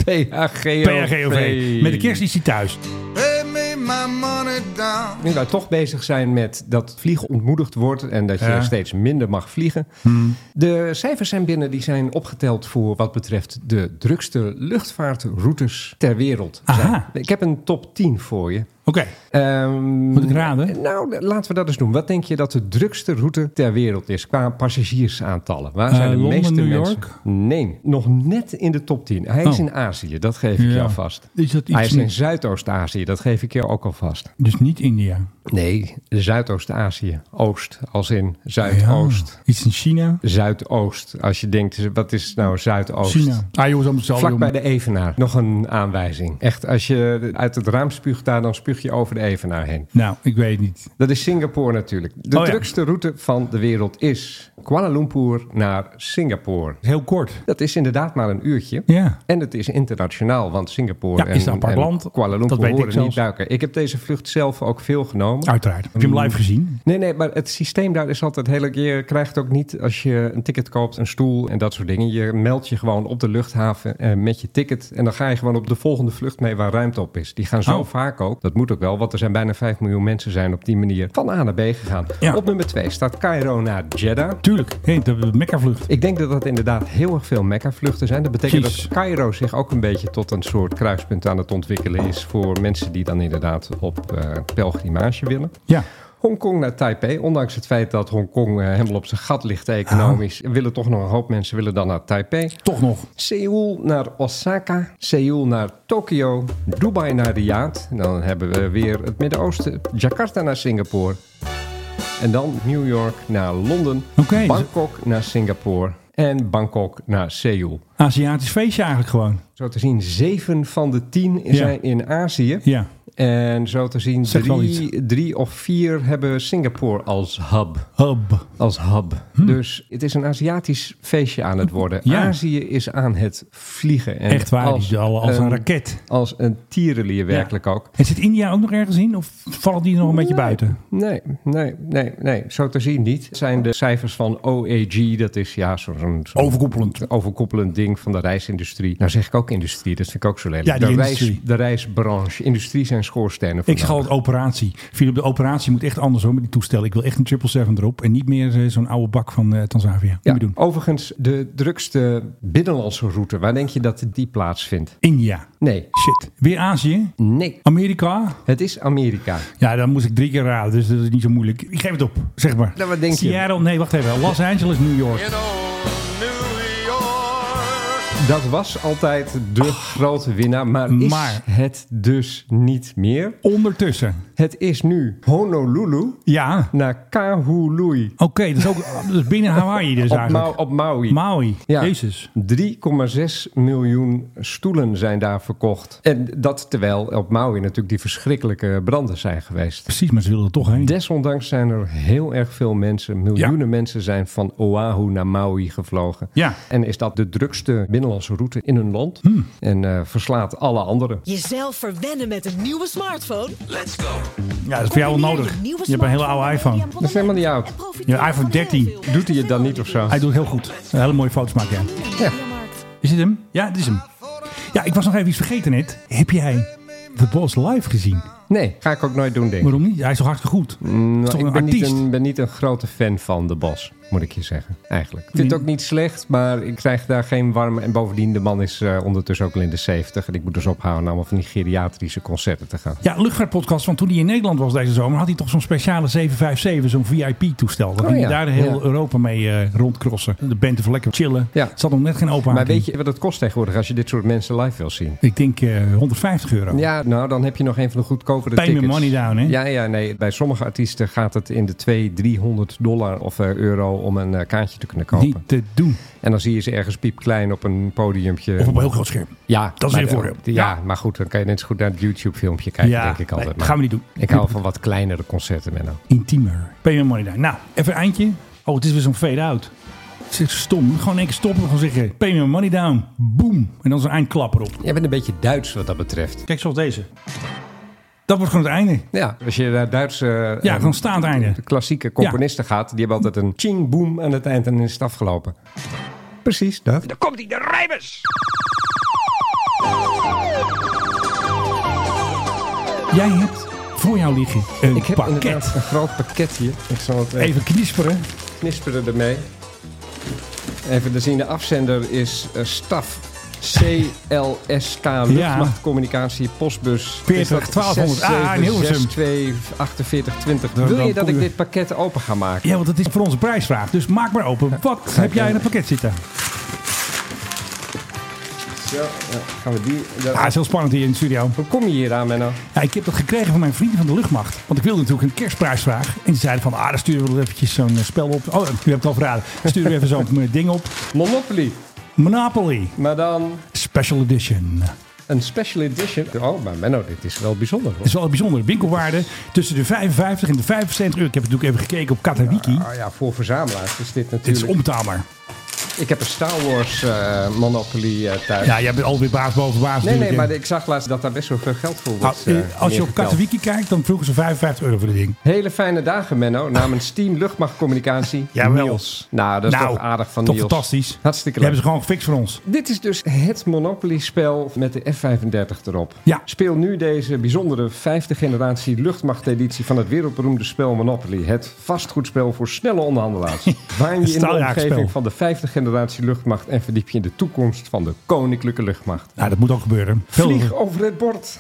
[SPEAKER 6] PHGOV.
[SPEAKER 7] PRGOV. Met de kersteditie thuis.
[SPEAKER 9] Pay me my money down.
[SPEAKER 6] Nu wij toch bezig zijn met dat vliegen ontmoedigd wordt en dat je
[SPEAKER 7] Ja. Hmm.
[SPEAKER 6] steeds minder mag vliegen. De cijfers zijn binnen, die zijn opgeteld voor wat betreft de drukste luchtvaartroutes ter wereld.
[SPEAKER 7] Aha.
[SPEAKER 6] Ik heb een top 10 voor je.
[SPEAKER 7] Oké,
[SPEAKER 6] Ehm,
[SPEAKER 7] Moet ik raden?
[SPEAKER 6] Nou, laten we dat eens doen. Wat denk je dat de drukste route ter wereld is qua passagiersaantallen? Waar zijn
[SPEAKER 7] Eh,
[SPEAKER 6] de
[SPEAKER 7] Londen,
[SPEAKER 6] meeste
[SPEAKER 7] New
[SPEAKER 6] mensen?
[SPEAKER 7] York?
[SPEAKER 6] Nee, nog net in de top 10. Hij is
[SPEAKER 7] Oh.
[SPEAKER 6] in Azië, dat geef ik
[SPEAKER 7] Ja.
[SPEAKER 6] jou vast.
[SPEAKER 7] Is dat iets
[SPEAKER 6] Hij is in
[SPEAKER 7] met-
[SPEAKER 6] Zuidoost-Azië, dat geef ik jou ook al vast.
[SPEAKER 7] dus niet India.
[SPEAKER 6] Nee, Zuidoost-Azië. Oost, als in Zuidoost.
[SPEAKER 7] Ah, Ja, Iets in China.
[SPEAKER 6] Zuidoost. Als je denkt, wat is nou Zuidoost?
[SPEAKER 7] China. Ah jongens, allemaal hetzelfde,
[SPEAKER 6] Vlak bij
[SPEAKER 7] jongen.
[SPEAKER 6] de Evenaar. Nog een aanwijzing. Echt, als je uit het raam spuugt daar, dan spuug je over de Evenaar heen.
[SPEAKER 7] Nou, ik weet het niet.
[SPEAKER 6] Dat is Singapore natuurlijk. De
[SPEAKER 7] Oh ja.
[SPEAKER 6] drukste route van de wereld is Kuala Lumpur naar Singapore.
[SPEAKER 7] Heel kort.
[SPEAKER 6] Dat is inderdaad maar een uurtje.
[SPEAKER 7] Ja.
[SPEAKER 6] En het is internationaal, want Singapore
[SPEAKER 7] Ja,
[SPEAKER 6] en,
[SPEAKER 7] is een apart
[SPEAKER 6] en
[SPEAKER 7] land.
[SPEAKER 6] Kuala Lumpur
[SPEAKER 7] Dat weet ik
[SPEAKER 6] horen
[SPEAKER 7] zelfs.
[SPEAKER 6] niet bij elkaar. Ik heb deze vlucht zelf ook veel genomen.
[SPEAKER 7] Uiteraard. Heb je hem live gezien?
[SPEAKER 6] Mm. Nee, nee, maar het systeem daar is altijd heel... Je krijgt ook niet, als je een ticket koopt, een stoel en dat soort dingen. Je meldt je gewoon op de luchthaven eh, met je ticket. En dan ga je gewoon op de volgende vlucht mee waar ruimte op is. Die gaan zo
[SPEAKER 7] Oh.
[SPEAKER 6] vaak ook. Dat moet ook wel, want er zijn bijna 5 miljoen mensen zijn op die manier van A naar B gegaan.
[SPEAKER 7] Ja.
[SPEAKER 6] Op nummer 2 staat Cairo naar Jeddah.
[SPEAKER 7] Tuurlijk. Hé, de Mekka-vlucht.
[SPEAKER 6] Ik denk dat dat inderdaad heel erg veel Mekka-vluchten zijn. Dat betekent
[SPEAKER 7] Precies.
[SPEAKER 6] dat Cairo zich ook een beetje tot een soort kruispunt aan het ontwikkelen is... voor mensen die dan inderdaad op eh, pelgrimage willen.
[SPEAKER 7] Ja.
[SPEAKER 6] Hongkong naar Taipei. Ondanks het feit dat Hongkong eh, helemaal op zijn gat ligt economisch, willen toch nog een hoop mensen willen dan naar Taipei.
[SPEAKER 7] Toch nog.
[SPEAKER 6] Seoul naar Osaka. Seoul naar Tokio. Dubai naar Riyadh. En dan hebben we weer het Midden-Oosten. Jakarta naar Singapore. En dan New York naar Londen.
[SPEAKER 7] Oké. dus
[SPEAKER 6] Bangkok naar Singapore. En Bangkok naar Seoul.
[SPEAKER 7] Aziatisch feestje eigenlijk gewoon.
[SPEAKER 6] Zo te zien, zeven van de tien
[SPEAKER 7] Ja.
[SPEAKER 6] zijn in Azië.
[SPEAKER 7] Ja.
[SPEAKER 6] En zo te zien,
[SPEAKER 7] Zegt wel
[SPEAKER 6] drie, drie of vier hebben Singapore als hub.
[SPEAKER 7] Hub.
[SPEAKER 6] Als hub. Dus het is een Aziatisch feestje aan het worden.
[SPEAKER 7] Hm. Ja.
[SPEAKER 6] Azië is aan het vliegen. En
[SPEAKER 7] Echt waar, die is al- als eh, een
[SPEAKER 6] een-
[SPEAKER 7] raket.
[SPEAKER 6] Als een tierenlier werkelijk ook.
[SPEAKER 7] En zit India ook nog ergens in? Of vallen die er nog een beetje buiten?
[SPEAKER 6] Nee, nee, nee, nee. Zo te zien niet. Het zijn de cijfers van OAG. Dat is ja, zo'n... zo'n- zo'n-
[SPEAKER 7] Overkoepelend.
[SPEAKER 6] Overkoppelend ding van de reisindustrie. Nou zeg ik ook industrie, dat vind ik ook zo lelijk.
[SPEAKER 7] Ja, die
[SPEAKER 6] de,
[SPEAKER 7] industrie.
[SPEAKER 6] de reisbranche, industrie zijn schoorstenen.
[SPEAKER 7] Ik
[SPEAKER 6] vandaag.
[SPEAKER 7] schal het operatie. Philip, de operatie moet echt anders hoor met die toestel. Ik wil echt een 777 erop. En niet meer eh, zo'n oude bak van eh Tanzania. Niet
[SPEAKER 6] Ja,
[SPEAKER 7] meer doen.
[SPEAKER 6] overigens, de drukste binnenlandse route, waar denk je dat die plaatsvindt?
[SPEAKER 7] India.
[SPEAKER 6] Nee.
[SPEAKER 7] Shit. Weer Azië?
[SPEAKER 6] Nee.
[SPEAKER 7] Amerika?
[SPEAKER 6] Het is Amerika.
[SPEAKER 7] Ja, dan moest ik drie keer raden. Dus dat is niet zo moeilijk. Ik geef het op. Zeg maar.
[SPEAKER 6] Nou, wat denk je?
[SPEAKER 7] Seattle? Nee, wacht even. Los Angeles, New York.
[SPEAKER 8] In old New York.
[SPEAKER 6] Dat was altijd de grote winnaar, maar is
[SPEAKER 7] Maar-
[SPEAKER 6] het dus niet meer.
[SPEAKER 7] Ondertussen.
[SPEAKER 6] Het is nu Honolulu
[SPEAKER 7] Ja.
[SPEAKER 6] naar Kahului
[SPEAKER 7] Oké, dat is ook dat is binnen Hawaii dus
[SPEAKER 6] op, Mau-
[SPEAKER 7] eigenlijk.
[SPEAKER 6] op Maui.
[SPEAKER 7] Maui.
[SPEAKER 6] Ja.
[SPEAKER 7] Jezus.
[SPEAKER 6] 3,6 miljoen stoelen zijn daar verkocht. En dat terwijl op Maui natuurlijk die verschrikkelijke branden zijn geweest.
[SPEAKER 7] Precies, maar ze wilden er toch heen.
[SPEAKER 6] Desondanks zijn er heel erg veel mensen, miljoenen
[SPEAKER 7] Ja.
[SPEAKER 6] mensen zijn van Oahu naar Maui gevlogen.
[SPEAKER 7] Ja. Hmm.
[SPEAKER 6] En is dat de drukste Nederlandse route in hun land. En eh, verslaat alle anderen.
[SPEAKER 10] Jezelf verwennen met een nieuwe smartphone?
[SPEAKER 7] Ja, dat is voor jou wel nodig.
[SPEAKER 10] Combineer nieuwe
[SPEAKER 7] Je hebt een hele oude
[SPEAKER 10] smartphone
[SPEAKER 7] iPhone.
[SPEAKER 10] met
[SPEAKER 6] Dat is helemaal niet oud.
[SPEAKER 10] en profiteer
[SPEAKER 7] Je iPhone
[SPEAKER 10] van heel
[SPEAKER 7] 13.
[SPEAKER 10] veel.
[SPEAKER 6] Doet hij het dan niet of zo?
[SPEAKER 7] Hij doet heel goed. Een hele mooie foto's maakt hij.
[SPEAKER 6] Ja.
[SPEAKER 7] Is dit hem? Ja, dit is hem. Ja, ik was nog even iets vergeten net. Heb jij The Boss live gezien?
[SPEAKER 6] Nee, ga ik ook nooit doen, denk ik.
[SPEAKER 7] Waarom niet? Hij is toch hartstikke goed? Hij is toch
[SPEAKER 6] Nou, ik
[SPEAKER 7] een
[SPEAKER 6] ben niet,
[SPEAKER 7] artiest?
[SPEAKER 6] een, ben niet een grote fan van de Bos, moet ik je zeggen. Eigenlijk. Ik
[SPEAKER 7] Mm.
[SPEAKER 6] vind het ook niet slecht, maar ik krijg daar geen warm. En bovendien, de man is eh, ondertussen ook al in de 70. En ik moet dus ophouden allemaal van die geriatrische concerten te gaan.
[SPEAKER 7] Ja, luchtvaartpodcast. Want toen hij in Nederland was deze zomer, had hij toch zo'n speciale 757, zo'n VIP-toestel. Dan
[SPEAKER 6] Oh,
[SPEAKER 7] ging hij
[SPEAKER 6] ja.
[SPEAKER 7] daar heel
[SPEAKER 6] Ja.
[SPEAKER 7] Europa mee eh rondcrossen. De band even lekker chillen.
[SPEAKER 6] Ja.
[SPEAKER 7] Het zat nog net geen open
[SPEAKER 6] Maar
[SPEAKER 7] haard in.
[SPEAKER 6] weet je wat het kost tegenwoordig als je dit soort mensen live wil zien?
[SPEAKER 7] Ik denk eh, 150 euro.
[SPEAKER 6] Ja, nou dan heb je nog een van de goedkopere
[SPEAKER 7] Pay me
[SPEAKER 6] tickets.
[SPEAKER 7] money down, hè?
[SPEAKER 6] Ja, ja, nee. Bij sommige artiesten gaat het in de 200, 300 dollar of eh, euro om een eh, kaartje te kunnen kopen.
[SPEAKER 7] niet te doen.
[SPEAKER 6] En dan zie je ze ergens piepklein op een podiumpje.
[SPEAKER 7] Of op een heel groot scherm.
[SPEAKER 6] Ja,
[SPEAKER 7] Dat is
[SPEAKER 6] maar
[SPEAKER 7] een
[SPEAKER 6] de-
[SPEAKER 7] voordeel.
[SPEAKER 6] Ja,
[SPEAKER 7] Ja.
[SPEAKER 6] maar goed, dan kan je net zo goed naar het YouTube-filmpje kijken, denk ik altijd.
[SPEAKER 7] nee,
[SPEAKER 6] maar
[SPEAKER 7] gaan we niet doen.
[SPEAKER 6] Ik hou van wat kleinere concerten, Menno.
[SPEAKER 7] Intiemer. Pay me money down. Nou, even een eindje. Oh, het is weer zo'n fade-out. Het is echt stom. Gewoon in één keer stoppen. Gewoon zeggen, pay me money down. Boom. En dan zo'n eindklap erop.
[SPEAKER 6] Jij bent een beetje Duits wat dat betreft.
[SPEAKER 7] Kijk, zoals deze. Dat wordt gewoon het einde.
[SPEAKER 6] Ja, als je naar Duitse eh,
[SPEAKER 7] Ja, gewoon staand einde.
[SPEAKER 6] klassieke componisten gaat, die hebben altijd een ching-boom aan het eind en dan is het afgelopen. Precies, dat.
[SPEAKER 7] Jij hebt voor jou liggen een
[SPEAKER 6] Ik heb
[SPEAKER 7] pakket.
[SPEAKER 6] inderdaad een groot pakket hier. Ik zal het even
[SPEAKER 7] Even knisperen.
[SPEAKER 6] knisperen ermee. Even te zien, de afzender is eh, staf. CLSK Luchtmachtcommunicatie Postbus
[SPEAKER 7] 40 1200. Ah, in Hilversum.
[SPEAKER 6] 4820.
[SPEAKER 7] Dan-
[SPEAKER 6] Wil
[SPEAKER 7] dan
[SPEAKER 6] je dat ik
[SPEAKER 7] voel je-
[SPEAKER 6] dit pakket open ga maken?
[SPEAKER 7] Ja, want het is voor onze prijsvraag. Dus maak maar open. Wat heb jij in het pakket zitten?
[SPEAKER 6] Zo, ja, gaan we die. dat-
[SPEAKER 7] Ah, het is heel spannend hier in de studio.
[SPEAKER 6] Hoe kom je hier aan, Menno?
[SPEAKER 7] Ja, ik heb dat gekregen van mijn vrienden van de luchtmacht. Want ik wilde natuurlijk een kerstprijsvraag. En die zeiden van, ah, dan sturen we wel eventjes zo'n eh, spel op. Oh, u hebt het al verraden. Sturen we even zo'n eh, ding op.
[SPEAKER 6] Monopoly.
[SPEAKER 7] Monopoly.
[SPEAKER 6] Maar dan
[SPEAKER 7] Special Edition.
[SPEAKER 6] een special edition. Oh, maar Menno, dit is wel bijzonder. Hoor.
[SPEAKER 7] Dat is wel een bijzondere winkelwaarde. Tussen de 55 en de 75 euro. Ik heb natuurlijk even gekeken op Katawiki.
[SPEAKER 6] Ah ja, voor verzamelaars is dit
[SPEAKER 7] Dit is
[SPEAKER 6] natuurlijk.
[SPEAKER 7] onbetaalbaar.
[SPEAKER 6] Ik heb een Star Wars eh, Monopoly eh, thuis.
[SPEAKER 7] Ja, jij bent alweer baas boven baas.
[SPEAKER 6] Nee, nee,
[SPEAKER 7] natuurlijk, hè.
[SPEAKER 6] maar ik zag laatst dat daar best wel veel geld voor
[SPEAKER 7] Nou,
[SPEAKER 6] wordt.
[SPEAKER 7] eh,
[SPEAKER 6] eh,
[SPEAKER 7] als je op
[SPEAKER 6] neergeteld.
[SPEAKER 7] Katowiki kijkt, dan vroegen ze 55 euro voor dit ding.
[SPEAKER 6] Hele fijne dagen, Menno. Namens Team Luchtmachtcommunicatie.
[SPEAKER 7] Jawel.
[SPEAKER 6] Niels. Nou, dat is toch aardig van
[SPEAKER 7] toch
[SPEAKER 6] Niels.
[SPEAKER 7] fantastisch.
[SPEAKER 6] Hartstikke
[SPEAKER 7] Die
[SPEAKER 6] leuk.
[SPEAKER 7] hebben ze gewoon gefixt voor ons.
[SPEAKER 6] Dit is dus het Monopoly-spel met de F-35 erop.
[SPEAKER 7] Ja.
[SPEAKER 6] Speel nu deze bijzondere vijfde generatie luchtmachteditie van het wereldberoemde spel Monopoly. Het vastgoedspel voor snelle onderhandelaars. Waan je in de
[SPEAKER 7] Straaljagerspel.
[SPEAKER 6] omgeving van de vijfde generatie luchtmacht en verdiep je in de toekomst van de koninklijke luchtmacht.
[SPEAKER 7] Nou, dat moet ook gebeuren.
[SPEAKER 6] Vlieg over het bord.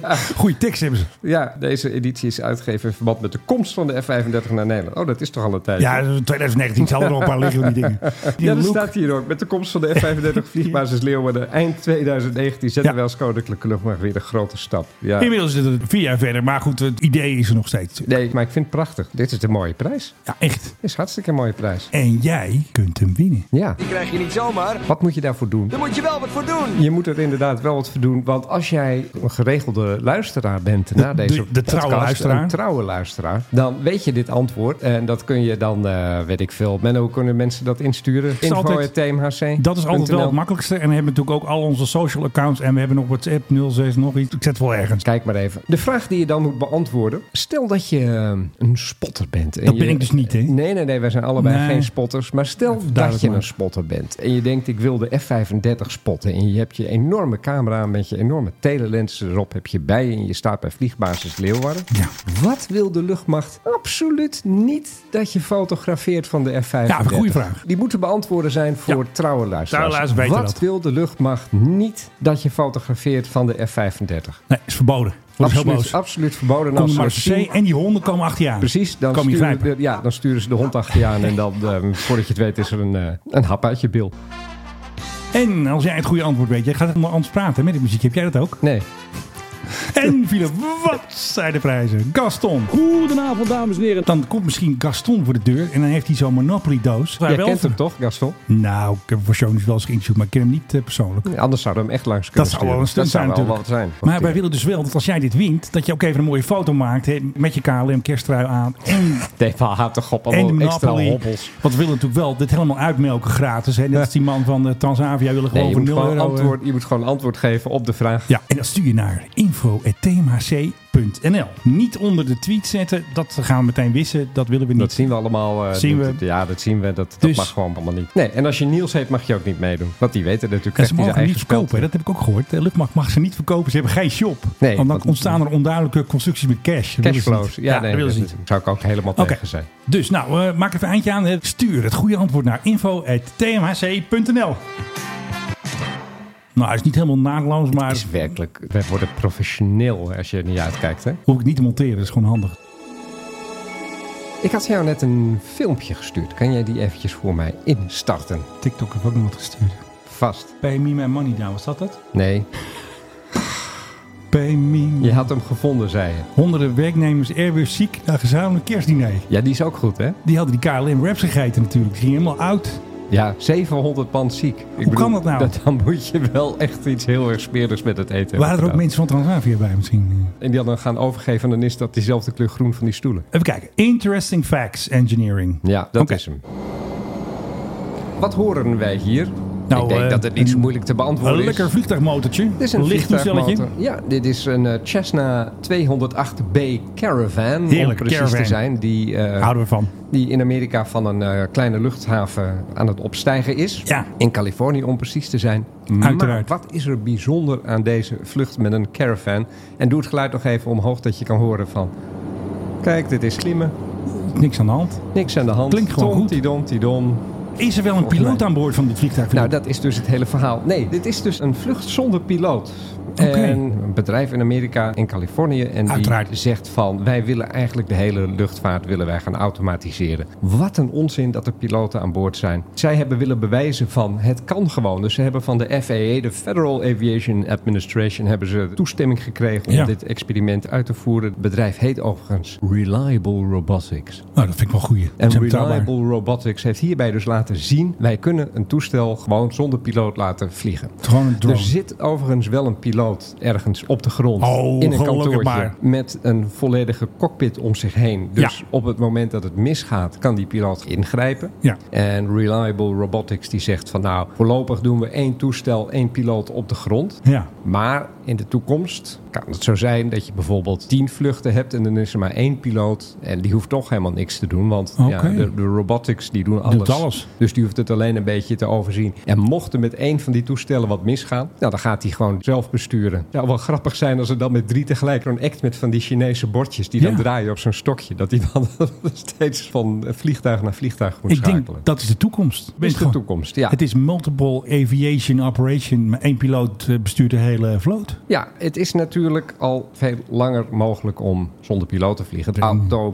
[SPEAKER 6] ja.
[SPEAKER 7] Goede tekst hebben ze.
[SPEAKER 6] ja, deze editie is uitgegeven in verband met de komst van de F-35 naar Nederland. Oh, dat is toch al een tijd.
[SPEAKER 7] Ja, 2019 zal er nog een paar liggen van die dingen. Die
[SPEAKER 6] Ja, dat
[SPEAKER 7] look.
[SPEAKER 6] staat hier ook. Met de komst van de F-35 vliegbasis Leeuwarden eind 2019 zetten
[SPEAKER 7] Ja.
[SPEAKER 6] wij als Koninklijke Luchtmacht weer een grote stap. Ja.
[SPEAKER 7] Inmiddels is het vier jaar verder, maar goed, het idee is er nog steeds.
[SPEAKER 6] Nee, maar ik vind het prachtig. Dit is de mooie prijs.
[SPEAKER 7] Ja, echt.
[SPEAKER 6] Dit is hartstikke een mooie prijs.
[SPEAKER 7] En jij kunt hem winnen.
[SPEAKER 6] Ja.
[SPEAKER 8] Krijg je niet zomaar,
[SPEAKER 6] Wat moet je daarvoor doen?
[SPEAKER 8] daar moet je wel wat voor doen.
[SPEAKER 6] Je moet er inderdaad wel wat voor doen. Want als jij een geregelde luisteraar bent na deze
[SPEAKER 7] de- de trouwe
[SPEAKER 6] podcast,
[SPEAKER 7] luisteraar.
[SPEAKER 6] Een trouwe luisteraar. Dan weet je dit antwoord. En dat kun je dan, eh, weet ik veel. Menno, hoe kunnen mensen dat insturen?
[SPEAKER 7] is altijd-
[SPEAKER 6] Info.tmhc.
[SPEAKER 7] Dat is altijd wel het makkelijkste. En we hebben natuurlijk ook al onze social accounts. En we hebben nog WhatsApp 06, nog iets. Ik zet het wel ergens.
[SPEAKER 6] Kijk maar even. De vraag die je dan moet beantwoorden. Stel dat je eh, een spotter bent. En
[SPEAKER 7] Dat
[SPEAKER 6] je-
[SPEAKER 7] ben ik dus niet, hè?
[SPEAKER 6] Nee, nee, nee. Wij zijn allebei
[SPEAKER 7] Nee.
[SPEAKER 6] geen spotters. Maar stel dat
[SPEAKER 7] duidelijk
[SPEAKER 6] je
[SPEAKER 7] maar.
[SPEAKER 6] een spotter bent. En je denkt, ik wil de F-35 spotten. En je hebt je enorme camera met je enorme telelens erop. Heb je bij je en je staat bij vliegbasis Leeuwarden.
[SPEAKER 7] Ja.
[SPEAKER 6] Wat wil de luchtmacht absoluut niet dat je fotografeert van de F-35?
[SPEAKER 7] Ja, een goede vraag.
[SPEAKER 6] Die moeten beantwoorden zijn voor trouwe luisteraars.
[SPEAKER 7] Trouwe luisteraars weten
[SPEAKER 6] Wat
[SPEAKER 7] dat.
[SPEAKER 6] wil de luchtmacht niet dat je fotografeert van de F-35?
[SPEAKER 7] Nee, is verboden. Wordt heel
[SPEAKER 6] Absoluut, Ah,
[SPEAKER 7] boos.
[SPEAKER 6] absoluut verboden.
[SPEAKER 7] Kom
[SPEAKER 6] Als
[SPEAKER 7] je
[SPEAKER 6] ze
[SPEAKER 7] maar
[SPEAKER 6] dat zien-
[SPEAKER 7] C en die honden komen achter je aan.
[SPEAKER 6] Precies, dan
[SPEAKER 7] Kom je
[SPEAKER 6] sturen,
[SPEAKER 7] grijpen.
[SPEAKER 6] de, ja, dan sturen ze de hond achter je aan en dan, ehm, voordat je het weet, is er een, eh, een hap uit je bil.
[SPEAKER 7] En als jij het goede antwoord weet, jij gaat het anders praten met de muziek. Heb jij dat ook?
[SPEAKER 6] Nee,
[SPEAKER 7] En Philip, wat zijn de prijzen? Gaston. Goedenavond, dames en heren. Dan komt misschien Gaston voor de deur en dan heeft hij zo'n Monopoly-doos. Waar
[SPEAKER 6] Jij
[SPEAKER 7] wel
[SPEAKER 6] kent
[SPEAKER 7] voor-
[SPEAKER 6] hem toch, Gaston?
[SPEAKER 7] Nou, ik heb hem voor show wel eens geïnterviewd, maar ik ken hem niet eh, persoonlijk.
[SPEAKER 6] Anders zouden we hem echt langs
[SPEAKER 7] Dat
[SPEAKER 6] kunnen
[SPEAKER 7] zou wel een
[SPEAKER 6] stunt
[SPEAKER 7] stunt zijn natuurlijk.
[SPEAKER 6] wat zijn.
[SPEAKER 7] Maar wij willen dus wel dat als jij dit wint, dat je ook even een mooie foto maakt hè, met je KLM kersttrui aan en,
[SPEAKER 6] Nee, maar haat toch op
[SPEAKER 7] en de
[SPEAKER 6] allemaal extra
[SPEAKER 7] Monopoly.
[SPEAKER 6] hobbels.
[SPEAKER 7] Want we willen natuurlijk wel dit helemaal uitmelken gratis. Hè. Net als die man van eh, Transavia willen
[SPEAKER 6] Nee,
[SPEAKER 7] gewoon
[SPEAKER 6] je
[SPEAKER 7] voor
[SPEAKER 6] moet
[SPEAKER 7] 0
[SPEAKER 6] gewoon,
[SPEAKER 7] euro. eh,
[SPEAKER 6] antwoord, je moet gewoon antwoord geven op de vraag.
[SPEAKER 7] Ja, en dat stuur je naar info.tmhc.nl. Niet onder de tweet zetten, dat gaan we meteen wissen. Dat willen we niet.
[SPEAKER 6] Dat zien we allemaal. eh,
[SPEAKER 7] Zien
[SPEAKER 6] dat-
[SPEAKER 7] we.
[SPEAKER 6] dat- Ja, dat zien we. Dat, dat
[SPEAKER 7] Dus-
[SPEAKER 6] mag gewoon allemaal niet. Nee, en als je Niels heet, mag je ook niet meedoen. Want die weten natuurlijk
[SPEAKER 7] En
[SPEAKER 6] echt
[SPEAKER 7] ze
[SPEAKER 6] zijn
[SPEAKER 7] mogen
[SPEAKER 6] eigen
[SPEAKER 7] niet verkopen, hè.
[SPEAKER 6] spel.
[SPEAKER 7] dat heb ik ook gehoord. De luchtmacht mag ze niet verkopen, ze hebben geen shop.
[SPEAKER 6] Nee,
[SPEAKER 7] want dan
[SPEAKER 6] want-
[SPEAKER 7] ontstaan er onduidelijke constructies met cash. Dat willen ze
[SPEAKER 6] Cashflows.
[SPEAKER 7] niet.
[SPEAKER 6] Ja, nee,
[SPEAKER 7] dat willen ze
[SPEAKER 6] dat
[SPEAKER 7] niet.
[SPEAKER 6] zou ik ook helemaal
[SPEAKER 7] Oké.
[SPEAKER 6] tegen zijn.
[SPEAKER 7] Dus nou, eh, maak even een eindje aan. Stuur het goede antwoord naar info.tmhc.nl. Nou, hij is niet helemaal naadloos, maar
[SPEAKER 6] Het is werkelijk. Wij worden professioneel als je er niet uitkijkt. Hè?
[SPEAKER 7] hoef ik niet te monteren. Dat is gewoon handig.
[SPEAKER 6] Ik had jou net een filmpje gestuurd. Kan jij die eventjes voor mij instarten?
[SPEAKER 7] TikTok heeft ook nog wat gestuurd.
[SPEAKER 6] Vast.
[SPEAKER 7] Pay me my money down, was dat dat?
[SPEAKER 6] Nee,
[SPEAKER 7] Pay me.
[SPEAKER 6] je had hem gevonden, zei je.
[SPEAKER 7] Honderden werknemers er weer ziek naar gezamenlijk kerstdiner.
[SPEAKER 6] Ja, die is ook goed, hè?
[SPEAKER 7] Die hadden die KLM wraps gegeten natuurlijk. Die gingen helemaal oud.
[SPEAKER 6] Ja, 700 pand ziek. Ik Hoe
[SPEAKER 7] kan dat nou?
[SPEAKER 6] dan moet je wel echt iets heel erg smerigs met het eten
[SPEAKER 7] Waren er ook
[SPEAKER 6] mensen?
[SPEAKER 7] mensen van Transavia bij misschien?
[SPEAKER 6] En die dan gaan overgeven, dan is dat diezelfde kleur groen van die stoelen.
[SPEAKER 7] Even kijken. Interesting Facts Engineering.
[SPEAKER 6] Ja, dat
[SPEAKER 7] Oké.
[SPEAKER 6] is hem. Wat horen wij hier?
[SPEAKER 7] Nou,
[SPEAKER 6] ik denk
[SPEAKER 7] eh,
[SPEAKER 6] dat het niet zo
[SPEAKER 7] een-
[SPEAKER 6] moeilijk te
[SPEAKER 7] Een
[SPEAKER 6] beantwoorden is.
[SPEAKER 7] lekker vliegtuigmotortje.
[SPEAKER 6] Dit is een
[SPEAKER 7] Licht toestelletje.
[SPEAKER 6] vliegtuigmotor. Ja, dit is een eh, Cessna 208B Caravan. om
[SPEAKER 7] Heerlijk,
[SPEAKER 6] precies
[SPEAKER 7] Caravan.
[SPEAKER 6] te zijn. Die, eh,
[SPEAKER 7] Houden we van.
[SPEAKER 6] die in Amerika van een eh, kleine luchthaven aan het opstijgen is.
[SPEAKER 7] Ja.
[SPEAKER 6] In Californië om precies te zijn.
[SPEAKER 7] Uiteraard.
[SPEAKER 6] Maar wat is er bijzonder aan deze vlucht met een caravan? En doe het geluid nog even omhoog dat je kan horen van... Kijk, dit is klimmen.
[SPEAKER 7] Niks aan de hand.
[SPEAKER 6] Niks aan de hand.
[SPEAKER 7] Klinkt gewoon goed.
[SPEAKER 6] Tidom, tidom.
[SPEAKER 7] Is er wel een
[SPEAKER 6] Volgens
[SPEAKER 7] piloot
[SPEAKER 6] mij.
[SPEAKER 7] aan boord van dit vliegtuig?
[SPEAKER 6] Nou, dat is dus het hele verhaal. Nee, dit is dus een vlucht zonder piloot.
[SPEAKER 7] Oké.
[SPEAKER 6] En een bedrijf in Amerika, in Californië. En
[SPEAKER 7] Uiteraard.
[SPEAKER 6] die zegt van, wij willen eigenlijk de hele luchtvaart willen wij gaan automatiseren. Wat een onzin dat er piloten aan boord zijn. Zij hebben willen bewijzen van, het kan gewoon. Dus ze hebben van de FAA, de Federal Aviation Administration, hebben ze toestemming gekregen om
[SPEAKER 7] Ja.
[SPEAKER 6] dit experiment uit te voeren. Het bedrijf heet overigens Reliable Robotics.
[SPEAKER 7] Nou, dat vind ik wel goed.
[SPEAKER 6] En Reliable Robotics heeft hierbij dus laten zien... wij kunnen een toestel gewoon zonder piloot laten vliegen.
[SPEAKER 7] Gewoon een drone.
[SPEAKER 6] Er zit overigens wel een piloot ergens op de grond...
[SPEAKER 7] Oh,
[SPEAKER 6] in een
[SPEAKER 7] gelukkig
[SPEAKER 6] kantoortje
[SPEAKER 7] maar.
[SPEAKER 6] met een volledige cockpit om zich heen. Dus
[SPEAKER 7] Ja.
[SPEAKER 6] op het moment dat het misgaat, kan die piloot ingrijpen.
[SPEAKER 7] Ja.
[SPEAKER 6] En Reliable Robotics die zegt van... nou, voorlopig doen we één toestel, één piloot op de grond...
[SPEAKER 7] Ja.
[SPEAKER 6] Maar in de toekomst kan het zo zijn dat je bijvoorbeeld tien vluchten hebt en dan is er maar één piloot. En die hoeft toch helemaal niks te doen, want ja,
[SPEAKER 7] Oké.
[SPEAKER 6] de, de robotics die doen alles.
[SPEAKER 7] alles.
[SPEAKER 6] Dus die hoeft het alleen een beetje te overzien. En mocht er met één van die toestellen wat misgaan, nou, dan gaat hij gewoon zelf besturen. Het zou wel grappig zijn als er dan met drie tegelijk een act met van die Chinese bordjes die dan
[SPEAKER 7] Ja.
[SPEAKER 6] draaien op zo'n stokje. Dat die dan steeds van vliegtuig naar vliegtuig moet
[SPEAKER 7] Ik denk,
[SPEAKER 6] schakelen.
[SPEAKER 7] dat is de toekomst.
[SPEAKER 6] dat is de
[SPEAKER 7] Gewoon-
[SPEAKER 6] toekomst, ja.
[SPEAKER 7] Het is multiple aviation operation. Maar één piloot eh, bestuurt de hele vloot.
[SPEAKER 6] Ja, het is natuurlijk al veel langer mogelijk om zonder piloot te vliegen. De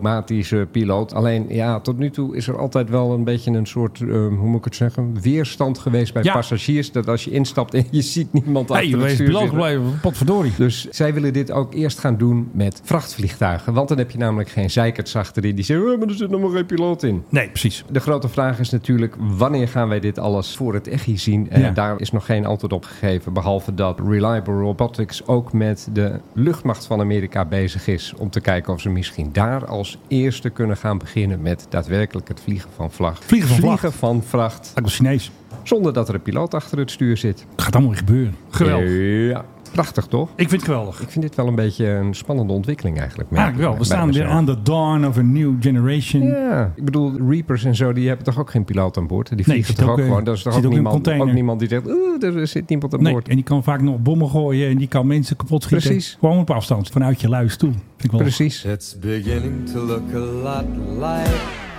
[SPEAKER 6] automatische piloot. Alleen ja, tot nu toe is er altijd wel een beetje een soort, eh, hoe moet ik het zeggen, weerstand geweest bij
[SPEAKER 7] Ja.
[SPEAKER 6] passagiers. Dat als je instapt en je ziet niemand
[SPEAKER 7] Hey, we
[SPEAKER 6] achter het
[SPEAKER 7] zijn
[SPEAKER 6] stuur
[SPEAKER 7] piloot
[SPEAKER 6] zitten.
[SPEAKER 7] gebleven. Potverdorie.
[SPEAKER 6] Dus zij willen dit ook eerst gaan doen met vrachtvliegtuigen. Want dan heb je namelijk geen zeikerts achterin die zeggen, "Eh, maar er zit nog maar geen piloot in.
[SPEAKER 7] Nee, precies.
[SPEAKER 6] De grote vraag is natuurlijk, wanneer gaan wij dit alles voor het echi zien? En
[SPEAKER 7] Ja.
[SPEAKER 6] daar is nog geen antwoord op gegeven. Behalve dat Reliable Robotics ook met de luchtmacht van Amerika bezig is. Om te kijken of ze misschien daar als eerste kunnen gaan beginnen met daadwerkelijk het vliegen van vlag.
[SPEAKER 7] Vliegen van
[SPEAKER 6] vliegen van vracht.
[SPEAKER 7] Ik was Chinees.
[SPEAKER 6] Zonder dat er een piloot achter het stuur zit.
[SPEAKER 7] Het gaat allemaal weer gebeuren. Geweldig.
[SPEAKER 6] Ja. Prachtig toch?
[SPEAKER 7] Ik vind het geweldig.
[SPEAKER 6] Ik vind dit wel een beetje een spannende ontwikkeling eigenlijk. merk
[SPEAKER 7] Eigenlijk
[SPEAKER 6] ik
[SPEAKER 7] wel. We
[SPEAKER 6] bij
[SPEAKER 7] staan weer
[SPEAKER 6] mezelf.
[SPEAKER 7] aan de dawn of a new generation.
[SPEAKER 6] Ja, ik bedoel, Reapers en zo, die hebben toch ook geen piloot aan boord? Die vliegen
[SPEAKER 7] zit
[SPEAKER 6] toch
[SPEAKER 7] ook,
[SPEAKER 6] ook
[SPEAKER 7] eh,
[SPEAKER 6] gewoon? Dat is toch
[SPEAKER 7] zit
[SPEAKER 6] ook
[SPEAKER 7] ook in een
[SPEAKER 6] niemand,
[SPEAKER 7] container.
[SPEAKER 6] ook niemand die zegt, oeh, er zit niemand aan
[SPEAKER 7] Nee,
[SPEAKER 6] boord.
[SPEAKER 7] en die kan vaak nog bommen gooien en die kan mensen kapot schieten.
[SPEAKER 6] Precies.
[SPEAKER 7] Gewoon op afstand, vanuit je luie stoel. Vind ik wel.
[SPEAKER 6] Precies.
[SPEAKER 8] It's beginning to look a lot like.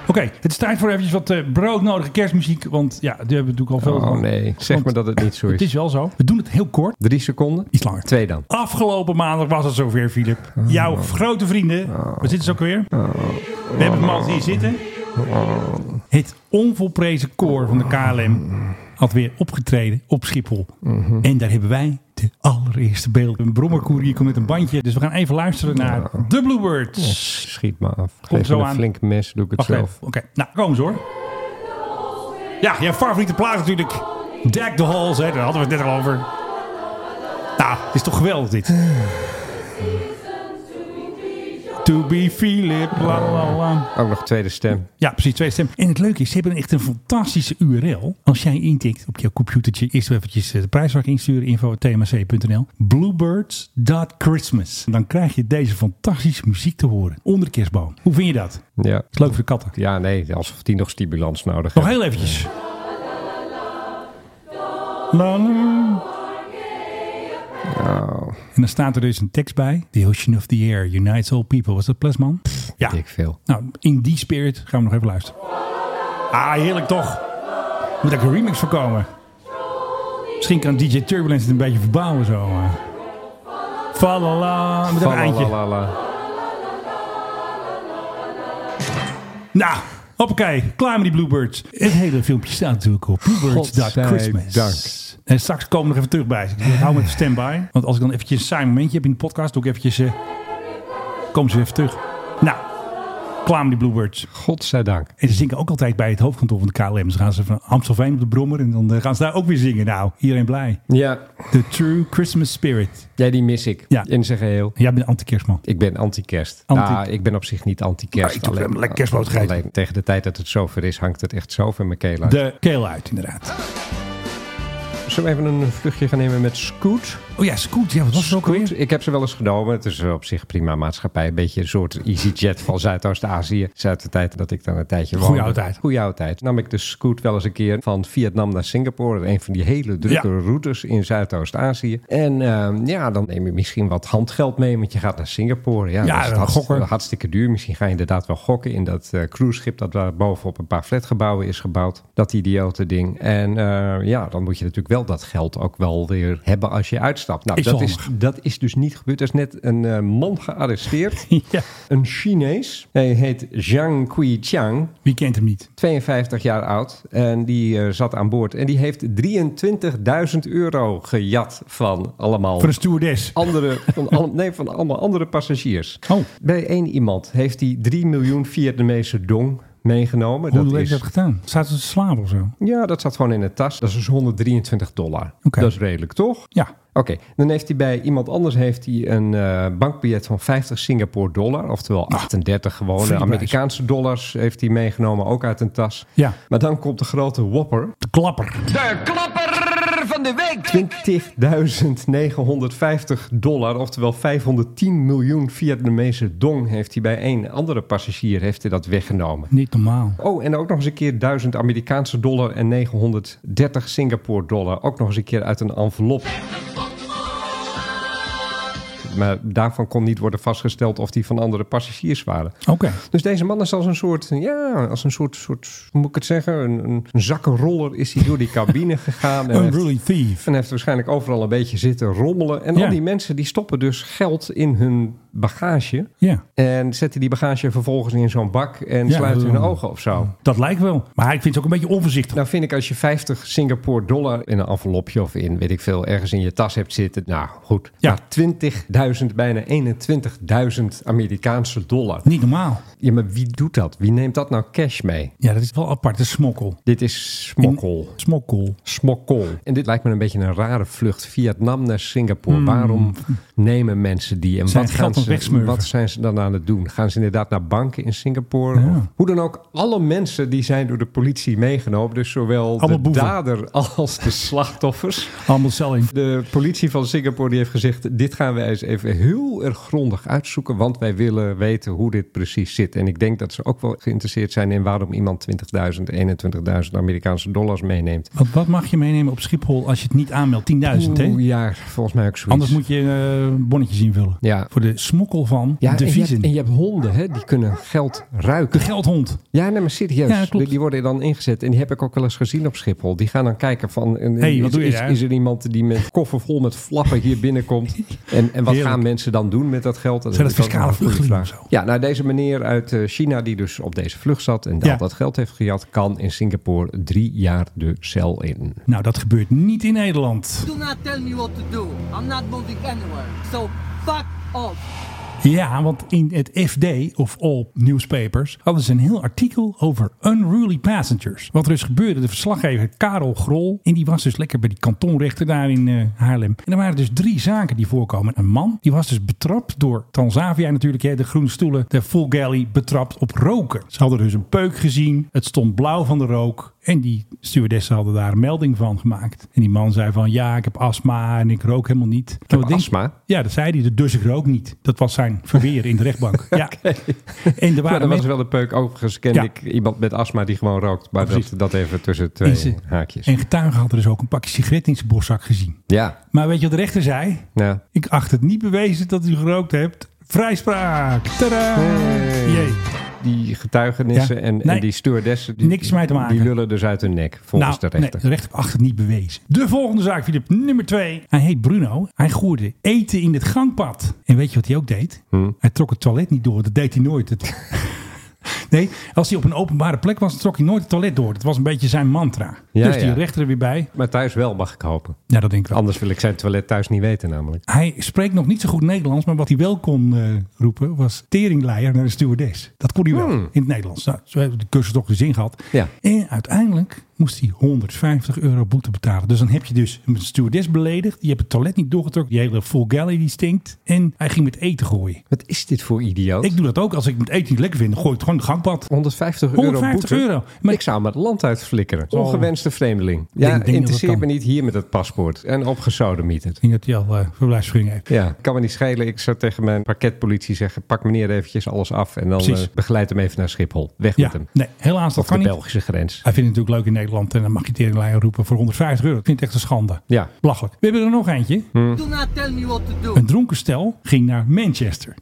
[SPEAKER 7] Oké, het is tijd voor eventjes wat eh, broodnodige kerstmuziek. Want ja, die hebben we natuurlijk al veel.
[SPEAKER 6] Oh
[SPEAKER 7] gehad.
[SPEAKER 6] nee, zeg
[SPEAKER 7] Want
[SPEAKER 6] maar dat het niet zo
[SPEAKER 7] Het is
[SPEAKER 6] is.
[SPEAKER 7] wel zo. We doen het heel kort.
[SPEAKER 6] Drie seconden?
[SPEAKER 7] Iets langer.
[SPEAKER 6] Twee dan.
[SPEAKER 7] Afgelopen maandag was het zover, Filip. Jouw grote vrienden. Wat zitten ze ook weer? We hebben hem al hier zitten. Het onvolprezen koor van de KLM had weer opgetreden op Schiphol. En daar hebben wij de allereerste beelden. Een brommerkoerier komt met een bandje. Dus we gaan even luisteren naar The Bluebirds.
[SPEAKER 6] Schiet me af. Geef
[SPEAKER 7] zo
[SPEAKER 6] me een
[SPEAKER 7] aan.
[SPEAKER 6] flink mes, doe ik het
[SPEAKER 7] Wacht even.
[SPEAKER 6] zelf.
[SPEAKER 7] Oké, nou, komen ze hoor. Ja, jouw favoriete plaat natuurlijk. Deck the Halls, hè. daar hadden we het net al over. Nou, het is toch geweldig dit. To be Philip, la la la.
[SPEAKER 6] Ook nog tweede stem.
[SPEAKER 7] Ja, precies, twee stem. En het leuke is, ze hebben echt een fantastische URL. Als jij intikt op jouw computertje, eerst eventjes eh, de prijsvraag insturen, info.tmc.nl. Bluebirds.christmas. Dan krijg je deze fantastische muziek te horen. Onder de kerstboom. Hoe vind je dat? Is
[SPEAKER 6] Ja.
[SPEAKER 7] leuk voor de katten.
[SPEAKER 6] Ja, nee, alsof die nog stimulans nodig
[SPEAKER 7] Nog
[SPEAKER 6] heeft.
[SPEAKER 7] heel eventjes. La, la. En dan staat er dus een tekst bij. The ocean of the air unites all people. Was dat Plesman? Ja.
[SPEAKER 6] Dik veel.
[SPEAKER 7] Nou, in die spirit gaan we nog even luisteren. Ah, heerlijk toch? Moet ook een remix voor komen. Misschien kan DJ Turbulence het een beetje verbouwen zo. maar. Falala. Met een eindje.
[SPEAKER 6] Falalala.
[SPEAKER 7] Nou, hoppakee, klaar met die Bluebirds. Het hele filmpje staat natuurlijk op bluebirds.christmas.
[SPEAKER 6] Godzijdank.
[SPEAKER 7] En straks komen we nog even terug bij. Ik hou me even standby. Want als ik dan eventjes een saai momentje heb in de podcast, doe ik eventjes... eh, komen ze weer even terug. Nou, klaar met die Bluebirds.
[SPEAKER 6] Godzijdank.
[SPEAKER 7] En ze zingen ook altijd bij het hoofdkantoor van de KLM. Dus gaan ze van Amstelveen op de Brommer en dan eh, gaan ze daar ook weer zingen. Nou, iedereen blij.
[SPEAKER 6] Ja,
[SPEAKER 7] The True Christmas Spirit.
[SPEAKER 6] jij die mis ik.
[SPEAKER 7] Ja.
[SPEAKER 6] In zijn geheel.
[SPEAKER 7] Jij bent een anti-kerstman.
[SPEAKER 6] Ik ben anti-kerst.
[SPEAKER 7] Anti-
[SPEAKER 6] Nou, ik ben op zich niet
[SPEAKER 7] Maar
[SPEAKER 6] anti-kerst.
[SPEAKER 7] ik doe wel een lekker kerstbrood gegeten.
[SPEAKER 6] alleen tegen de tijd dat het zover is, hangt het echt zo van mijn keel uit.
[SPEAKER 7] De keel uit, inderdaad.
[SPEAKER 6] Zullen we even een vluchtje gaan nemen met Scoot?
[SPEAKER 7] Oh ja, Scoot. Ja, wat was er ook
[SPEAKER 6] Scoot,
[SPEAKER 7] weer?
[SPEAKER 6] ik heb ze wel eens genomen. Het is eh, op zich prima maatschappij. Een beetje een soort EasyJet van Zuidoost-Azië. Het is uit de tijd dat ik daar een tijdje woonde.
[SPEAKER 7] Goeie oude tijd.
[SPEAKER 6] Goeie oude tijd. Nam ik de Scoot wel eens een keer van Vietnam naar Singapore. Een van die hele drukke
[SPEAKER 7] Ja.
[SPEAKER 6] routes in Zuidoost-Azië. En ehm, ja, dan neem je misschien wat handgeld mee, want je gaat naar Singapore. Ja,
[SPEAKER 7] Ja,
[SPEAKER 6] dat is
[SPEAKER 7] dan
[SPEAKER 6] hartst-
[SPEAKER 7] gokken.
[SPEAKER 6] hartstikke duur. Misschien ga je inderdaad wel gokken in dat eh, cruiseschip dat daar bovenop een paar flatgebouwen is gebouwd. Dat idiote ding. En eh, ja, dan moet je natuurlijk wel dat geld ook wel weer hebben als je uitstapt. Nou,
[SPEAKER 7] Is
[SPEAKER 6] dat
[SPEAKER 7] handig.
[SPEAKER 6] is, dat is dus niet gebeurd. Er is net een eh, man gearresteerd.
[SPEAKER 7] Ja,
[SPEAKER 6] Een Chinees. Hij heet Zhang Qiqiang,
[SPEAKER 7] wie kent hem niet?
[SPEAKER 6] 52 jaar oud. En die eh, zat aan boord. En die heeft 23.000 euro gejat van allemaal
[SPEAKER 7] Voor een stewardess.
[SPEAKER 6] andere, van alle, nee, van allemaal andere passagiers.
[SPEAKER 7] Oh.
[SPEAKER 6] Bij één iemand heeft hij 3 miljoen Vietnamese dong meegenomen.
[SPEAKER 7] Hoe
[SPEAKER 6] dat
[SPEAKER 7] heeft
[SPEAKER 6] is,
[SPEAKER 7] hij dat gedaan? Staat ze te slapen of zo?
[SPEAKER 6] Ja, dat zat gewoon in de tas. Dat is dus 123 dollar.
[SPEAKER 7] Oké.
[SPEAKER 6] Dat is redelijk, toch?
[SPEAKER 7] Ja.
[SPEAKER 6] Oké, dan heeft hij bij iemand anders heeft hij een eh, bankbiljet van 50 Singapore dollar, oftewel
[SPEAKER 7] Nou,
[SPEAKER 6] 38 gewone
[SPEAKER 7] vriendprijs.
[SPEAKER 6] Amerikaanse dollars heeft hij meegenomen, ook uit een tas.
[SPEAKER 7] Ja.
[SPEAKER 6] Maar dan komt de grote whopper,
[SPEAKER 7] De klapper.
[SPEAKER 6] 20.950 dollar, oftewel 510 miljoen Vietnamese dong heeft hij bij één andere passagier heeft hij dat weggenomen.
[SPEAKER 7] Niet normaal.
[SPEAKER 6] Oh, en ook nog eens een keer 1000 Amerikaanse dollar en 930 Singapore dollar. Ook nog eens een keer uit een envelop. Maar daarvan kon niet worden vastgesteld of die van andere passagiers waren.
[SPEAKER 7] Oké.
[SPEAKER 6] Dus deze man is als een soort, ja, als een soort, soort hoe moet ik het zeggen, een, een zakkenroller is hij door die cabine gegaan. en heeft-
[SPEAKER 7] Unruly thief.
[SPEAKER 6] en heeft waarschijnlijk overal een beetje zitten rommelen. En
[SPEAKER 7] Ja.
[SPEAKER 6] al die mensen die stoppen dus geld in hun bagage.
[SPEAKER 7] Ja.
[SPEAKER 6] En zetten die bagage vervolgens in zo'n bak en
[SPEAKER 7] Ja,
[SPEAKER 6] sluiten hun
[SPEAKER 7] eh,
[SPEAKER 6] ogen of zo.
[SPEAKER 7] Dat lijkt wel. Maar ik vind het ook een beetje onvoorzichtig.
[SPEAKER 6] Nou vind ik als je 50 Singapore dollar in een envelopje of in weet ik veel ergens in je tas hebt zitten. Nou goed,
[SPEAKER 7] Ja.
[SPEAKER 6] maar 20.000, bijna 21.000 Amerikaanse dollar.
[SPEAKER 7] Niet normaal.
[SPEAKER 6] Ja, maar wie doet dat? Wie neemt dat nou cash mee?
[SPEAKER 7] Ja, dat is wel apart. Dat is smokkel.
[SPEAKER 6] Dit is smokkel.
[SPEAKER 7] Smokkel.
[SPEAKER 6] Smokkel. En dit lijkt me een beetje een rare vlucht. Vietnam naar Singapore. Waarom nemen mensen die? En
[SPEAKER 7] Hmm. Zijn
[SPEAKER 6] wat,
[SPEAKER 7] geld
[SPEAKER 6] gaan
[SPEAKER 7] aan het
[SPEAKER 6] ze,
[SPEAKER 7] wegsmurven.
[SPEAKER 6] wat zijn ze dan aan het doen? Gaan ze inderdaad naar banken in Singapore?
[SPEAKER 7] Ja.
[SPEAKER 6] Of, hoe dan ook, alle mensen die zijn door de politie meegenomen. Dus zowel
[SPEAKER 7] Allemaal
[SPEAKER 6] de
[SPEAKER 7] boeven.
[SPEAKER 6] dader als de slachtoffers.
[SPEAKER 7] Allemaal selling.
[SPEAKER 6] De politie van Singapore die heeft gezegd... dit gaan wij eens even heel erg grondig uitzoeken... want wij willen weten hoe dit precies zit. En ik denk dat ze ook wel geïnteresseerd zijn... in waarom iemand 20.000, 21.000 Amerikaanse dollars meeneemt.
[SPEAKER 7] Want wat mag je meenemen op Schiphol als je het niet aanmeldt? 10.000,
[SPEAKER 6] Oeh,
[SPEAKER 7] hè?
[SPEAKER 6] Ja, volgens mij ook zoiets.
[SPEAKER 7] Anders moet je eh, bonnetjes invullen.
[SPEAKER 6] Ja.
[SPEAKER 7] Voor de smokkel van
[SPEAKER 6] ja,
[SPEAKER 7] de
[SPEAKER 6] en je,
[SPEAKER 7] viezen.
[SPEAKER 6] hebt, en je hebt honden, hè? die kunnen geld ruiken.
[SPEAKER 7] De geldhond.
[SPEAKER 6] Ja, nee, maar serieus.
[SPEAKER 7] Ja, dat klopt.
[SPEAKER 6] die, die worden dan ingezet. En die heb ik ook wel eens gezien op Schiphol. Die gaan dan kijken van... en-
[SPEAKER 7] Hey, wat
[SPEAKER 6] is,
[SPEAKER 7] doe je
[SPEAKER 6] is,
[SPEAKER 7] daar?
[SPEAKER 6] is er iemand die met koffer vol met flappen hier binnenkomt? En, en wat gaan mensen dan doen met dat geld? Dat
[SPEAKER 7] Zijn
[SPEAKER 6] is
[SPEAKER 7] dat
[SPEAKER 6] ook nog
[SPEAKER 7] fiscale
[SPEAKER 6] een goede
[SPEAKER 7] vluchtelingen
[SPEAKER 6] vraag.
[SPEAKER 7] of zo?
[SPEAKER 6] Ja, nou deze meneer uit eh, China die dus op deze vlucht zat en
[SPEAKER 7] Ja.
[SPEAKER 6] al dat geld heeft gejat, kan in Singapore drie jaar de cel in.
[SPEAKER 7] Nou, dat gebeurt niet in Nederland.
[SPEAKER 10] Do not tell me what to do. I'm not moving anywhere. So fuck off.
[SPEAKER 7] Ja, want in het FD, of all newspapers, hadden ze een heel artikel over unruly passengers. Wat er is gebeurde, de verslaggever Karel Grol, en die was dus lekker bij die kantonrechter daar in eh, Haarlem. En er waren dus drie zaken die voorkomen. Een man, die was dus betrapt door Transavia natuurlijk, hè, de groene stoelen, de full galley, betrapt op roken. Ze hadden dus een peuk gezien, het stond blauw van de rook. En die stewardessen hadden daar een melding van gemaakt. En die man zei van, ja, ik heb astma en ik rook helemaal niet. Ik
[SPEAKER 6] heb astma?
[SPEAKER 7] ja, dat zei hij. Dus ik rook niet. Dat was zijn verweer in de rechtbank. Ja. En er waren
[SPEAKER 6] Maar dat was
[SPEAKER 7] mensen...
[SPEAKER 6] wel de peuk. Overigens ken
[SPEAKER 7] Ja.
[SPEAKER 6] ik iemand met astma die gewoon rookt. Maar dat,
[SPEAKER 7] Precies.
[SPEAKER 6] dat even tussen twee
[SPEAKER 7] Is het-
[SPEAKER 6] haakjes.
[SPEAKER 7] En getuigen hadden dus ook een pakje sigaretten in zijn borstzak gezien.
[SPEAKER 6] Ja,
[SPEAKER 7] Maar weet je wat de rechter zei?
[SPEAKER 6] nou,
[SPEAKER 7] Ik acht het niet bewezen dat u gerookt hebt. Vrijspraak. Tadaa.
[SPEAKER 6] Hey.
[SPEAKER 7] Jee.
[SPEAKER 6] die getuigenissen
[SPEAKER 7] Ja.
[SPEAKER 6] en,
[SPEAKER 7] Nee.
[SPEAKER 6] en die stewardessen... Die,
[SPEAKER 7] Niks mee te maken. Nou,
[SPEAKER 6] Die lullen dus uit hun nek, volgens de rechter.
[SPEAKER 7] Nee, de rechter achter niet bewezen. De volgende zaak, Filip, nummer twee. Hij heet Bruno. Hij gooide eten in het gangpad. En weet je wat hij ook deed?
[SPEAKER 6] Hm?
[SPEAKER 7] Hij trok het toilet niet door. Dat deed hij nooit. Het- nee, als hij op een openbare plek was, trok hij nooit het toilet door. Dat was een beetje zijn mantra.
[SPEAKER 6] Ja,
[SPEAKER 7] dus die
[SPEAKER 6] ja.
[SPEAKER 7] rechter er weer bij.
[SPEAKER 6] Maar thuis wel, mag ik hopen.
[SPEAKER 7] Ja, dat denk ik wel.
[SPEAKER 6] Anders wil ik zijn toilet thuis niet weten namelijk.
[SPEAKER 7] Hij spreekt nog niet zo goed Nederlands, maar wat hij wel kon eh, roepen was teringleier naar de stewardess. Dat kon hij wel in het Nederlands. Nou, zo hebben we de cursus toch de zin gehad.
[SPEAKER 6] Hmm. Ja.
[SPEAKER 7] En uiteindelijk moest hij 150 euro boete betalen. Dus dan heb je dus een stewardess beledigd. Die hebt het toilet niet doorgetrokken. Die hele full galley die stinkt. En hij ging met eten gooien.
[SPEAKER 6] Wat is dit voor idioot?
[SPEAKER 7] Ik doe dat ook. Als ik het eten niet lekker vind, dan gooi ik het gewoon in het gangpad.
[SPEAKER 6] 150 euro
[SPEAKER 7] 150
[SPEAKER 6] boete.
[SPEAKER 7] euro. Maar-
[SPEAKER 6] ik zou hem het land uit flikkeren.
[SPEAKER 7] Oh.
[SPEAKER 6] Ongewenste vreemdeling. Ja,
[SPEAKER 7] denk dat
[SPEAKER 6] interesseert
[SPEAKER 7] kan.
[SPEAKER 6] me niet hier met het paspoort. En opgesodemieterd.
[SPEAKER 7] Ik denk dat hij al eh verblijfsvergunning heeft.
[SPEAKER 6] Ja, kan me niet schelen. Ik zou tegen mijn pakketpolitie zeggen... pak meneer eventjes alles af en dan
[SPEAKER 7] Precies.
[SPEAKER 6] eh, begeleid hem even naar Schiphol. Weg
[SPEAKER 7] Ja,
[SPEAKER 6] met hem.
[SPEAKER 7] nee, helaas dat
[SPEAKER 6] Of
[SPEAKER 7] kan
[SPEAKER 6] de
[SPEAKER 7] niet.
[SPEAKER 6] Belgische grens.
[SPEAKER 7] Hij vindt het natuurlijk leuk in Nederland en dan mag je teringleier roepen voor 150 euro. Ik vind het echt een schande.
[SPEAKER 6] Ja.
[SPEAKER 7] Belachelijk. We hebben er nog eentje.
[SPEAKER 10] Do not tell me what to do.
[SPEAKER 7] Een dronken stel ging naar Manchester.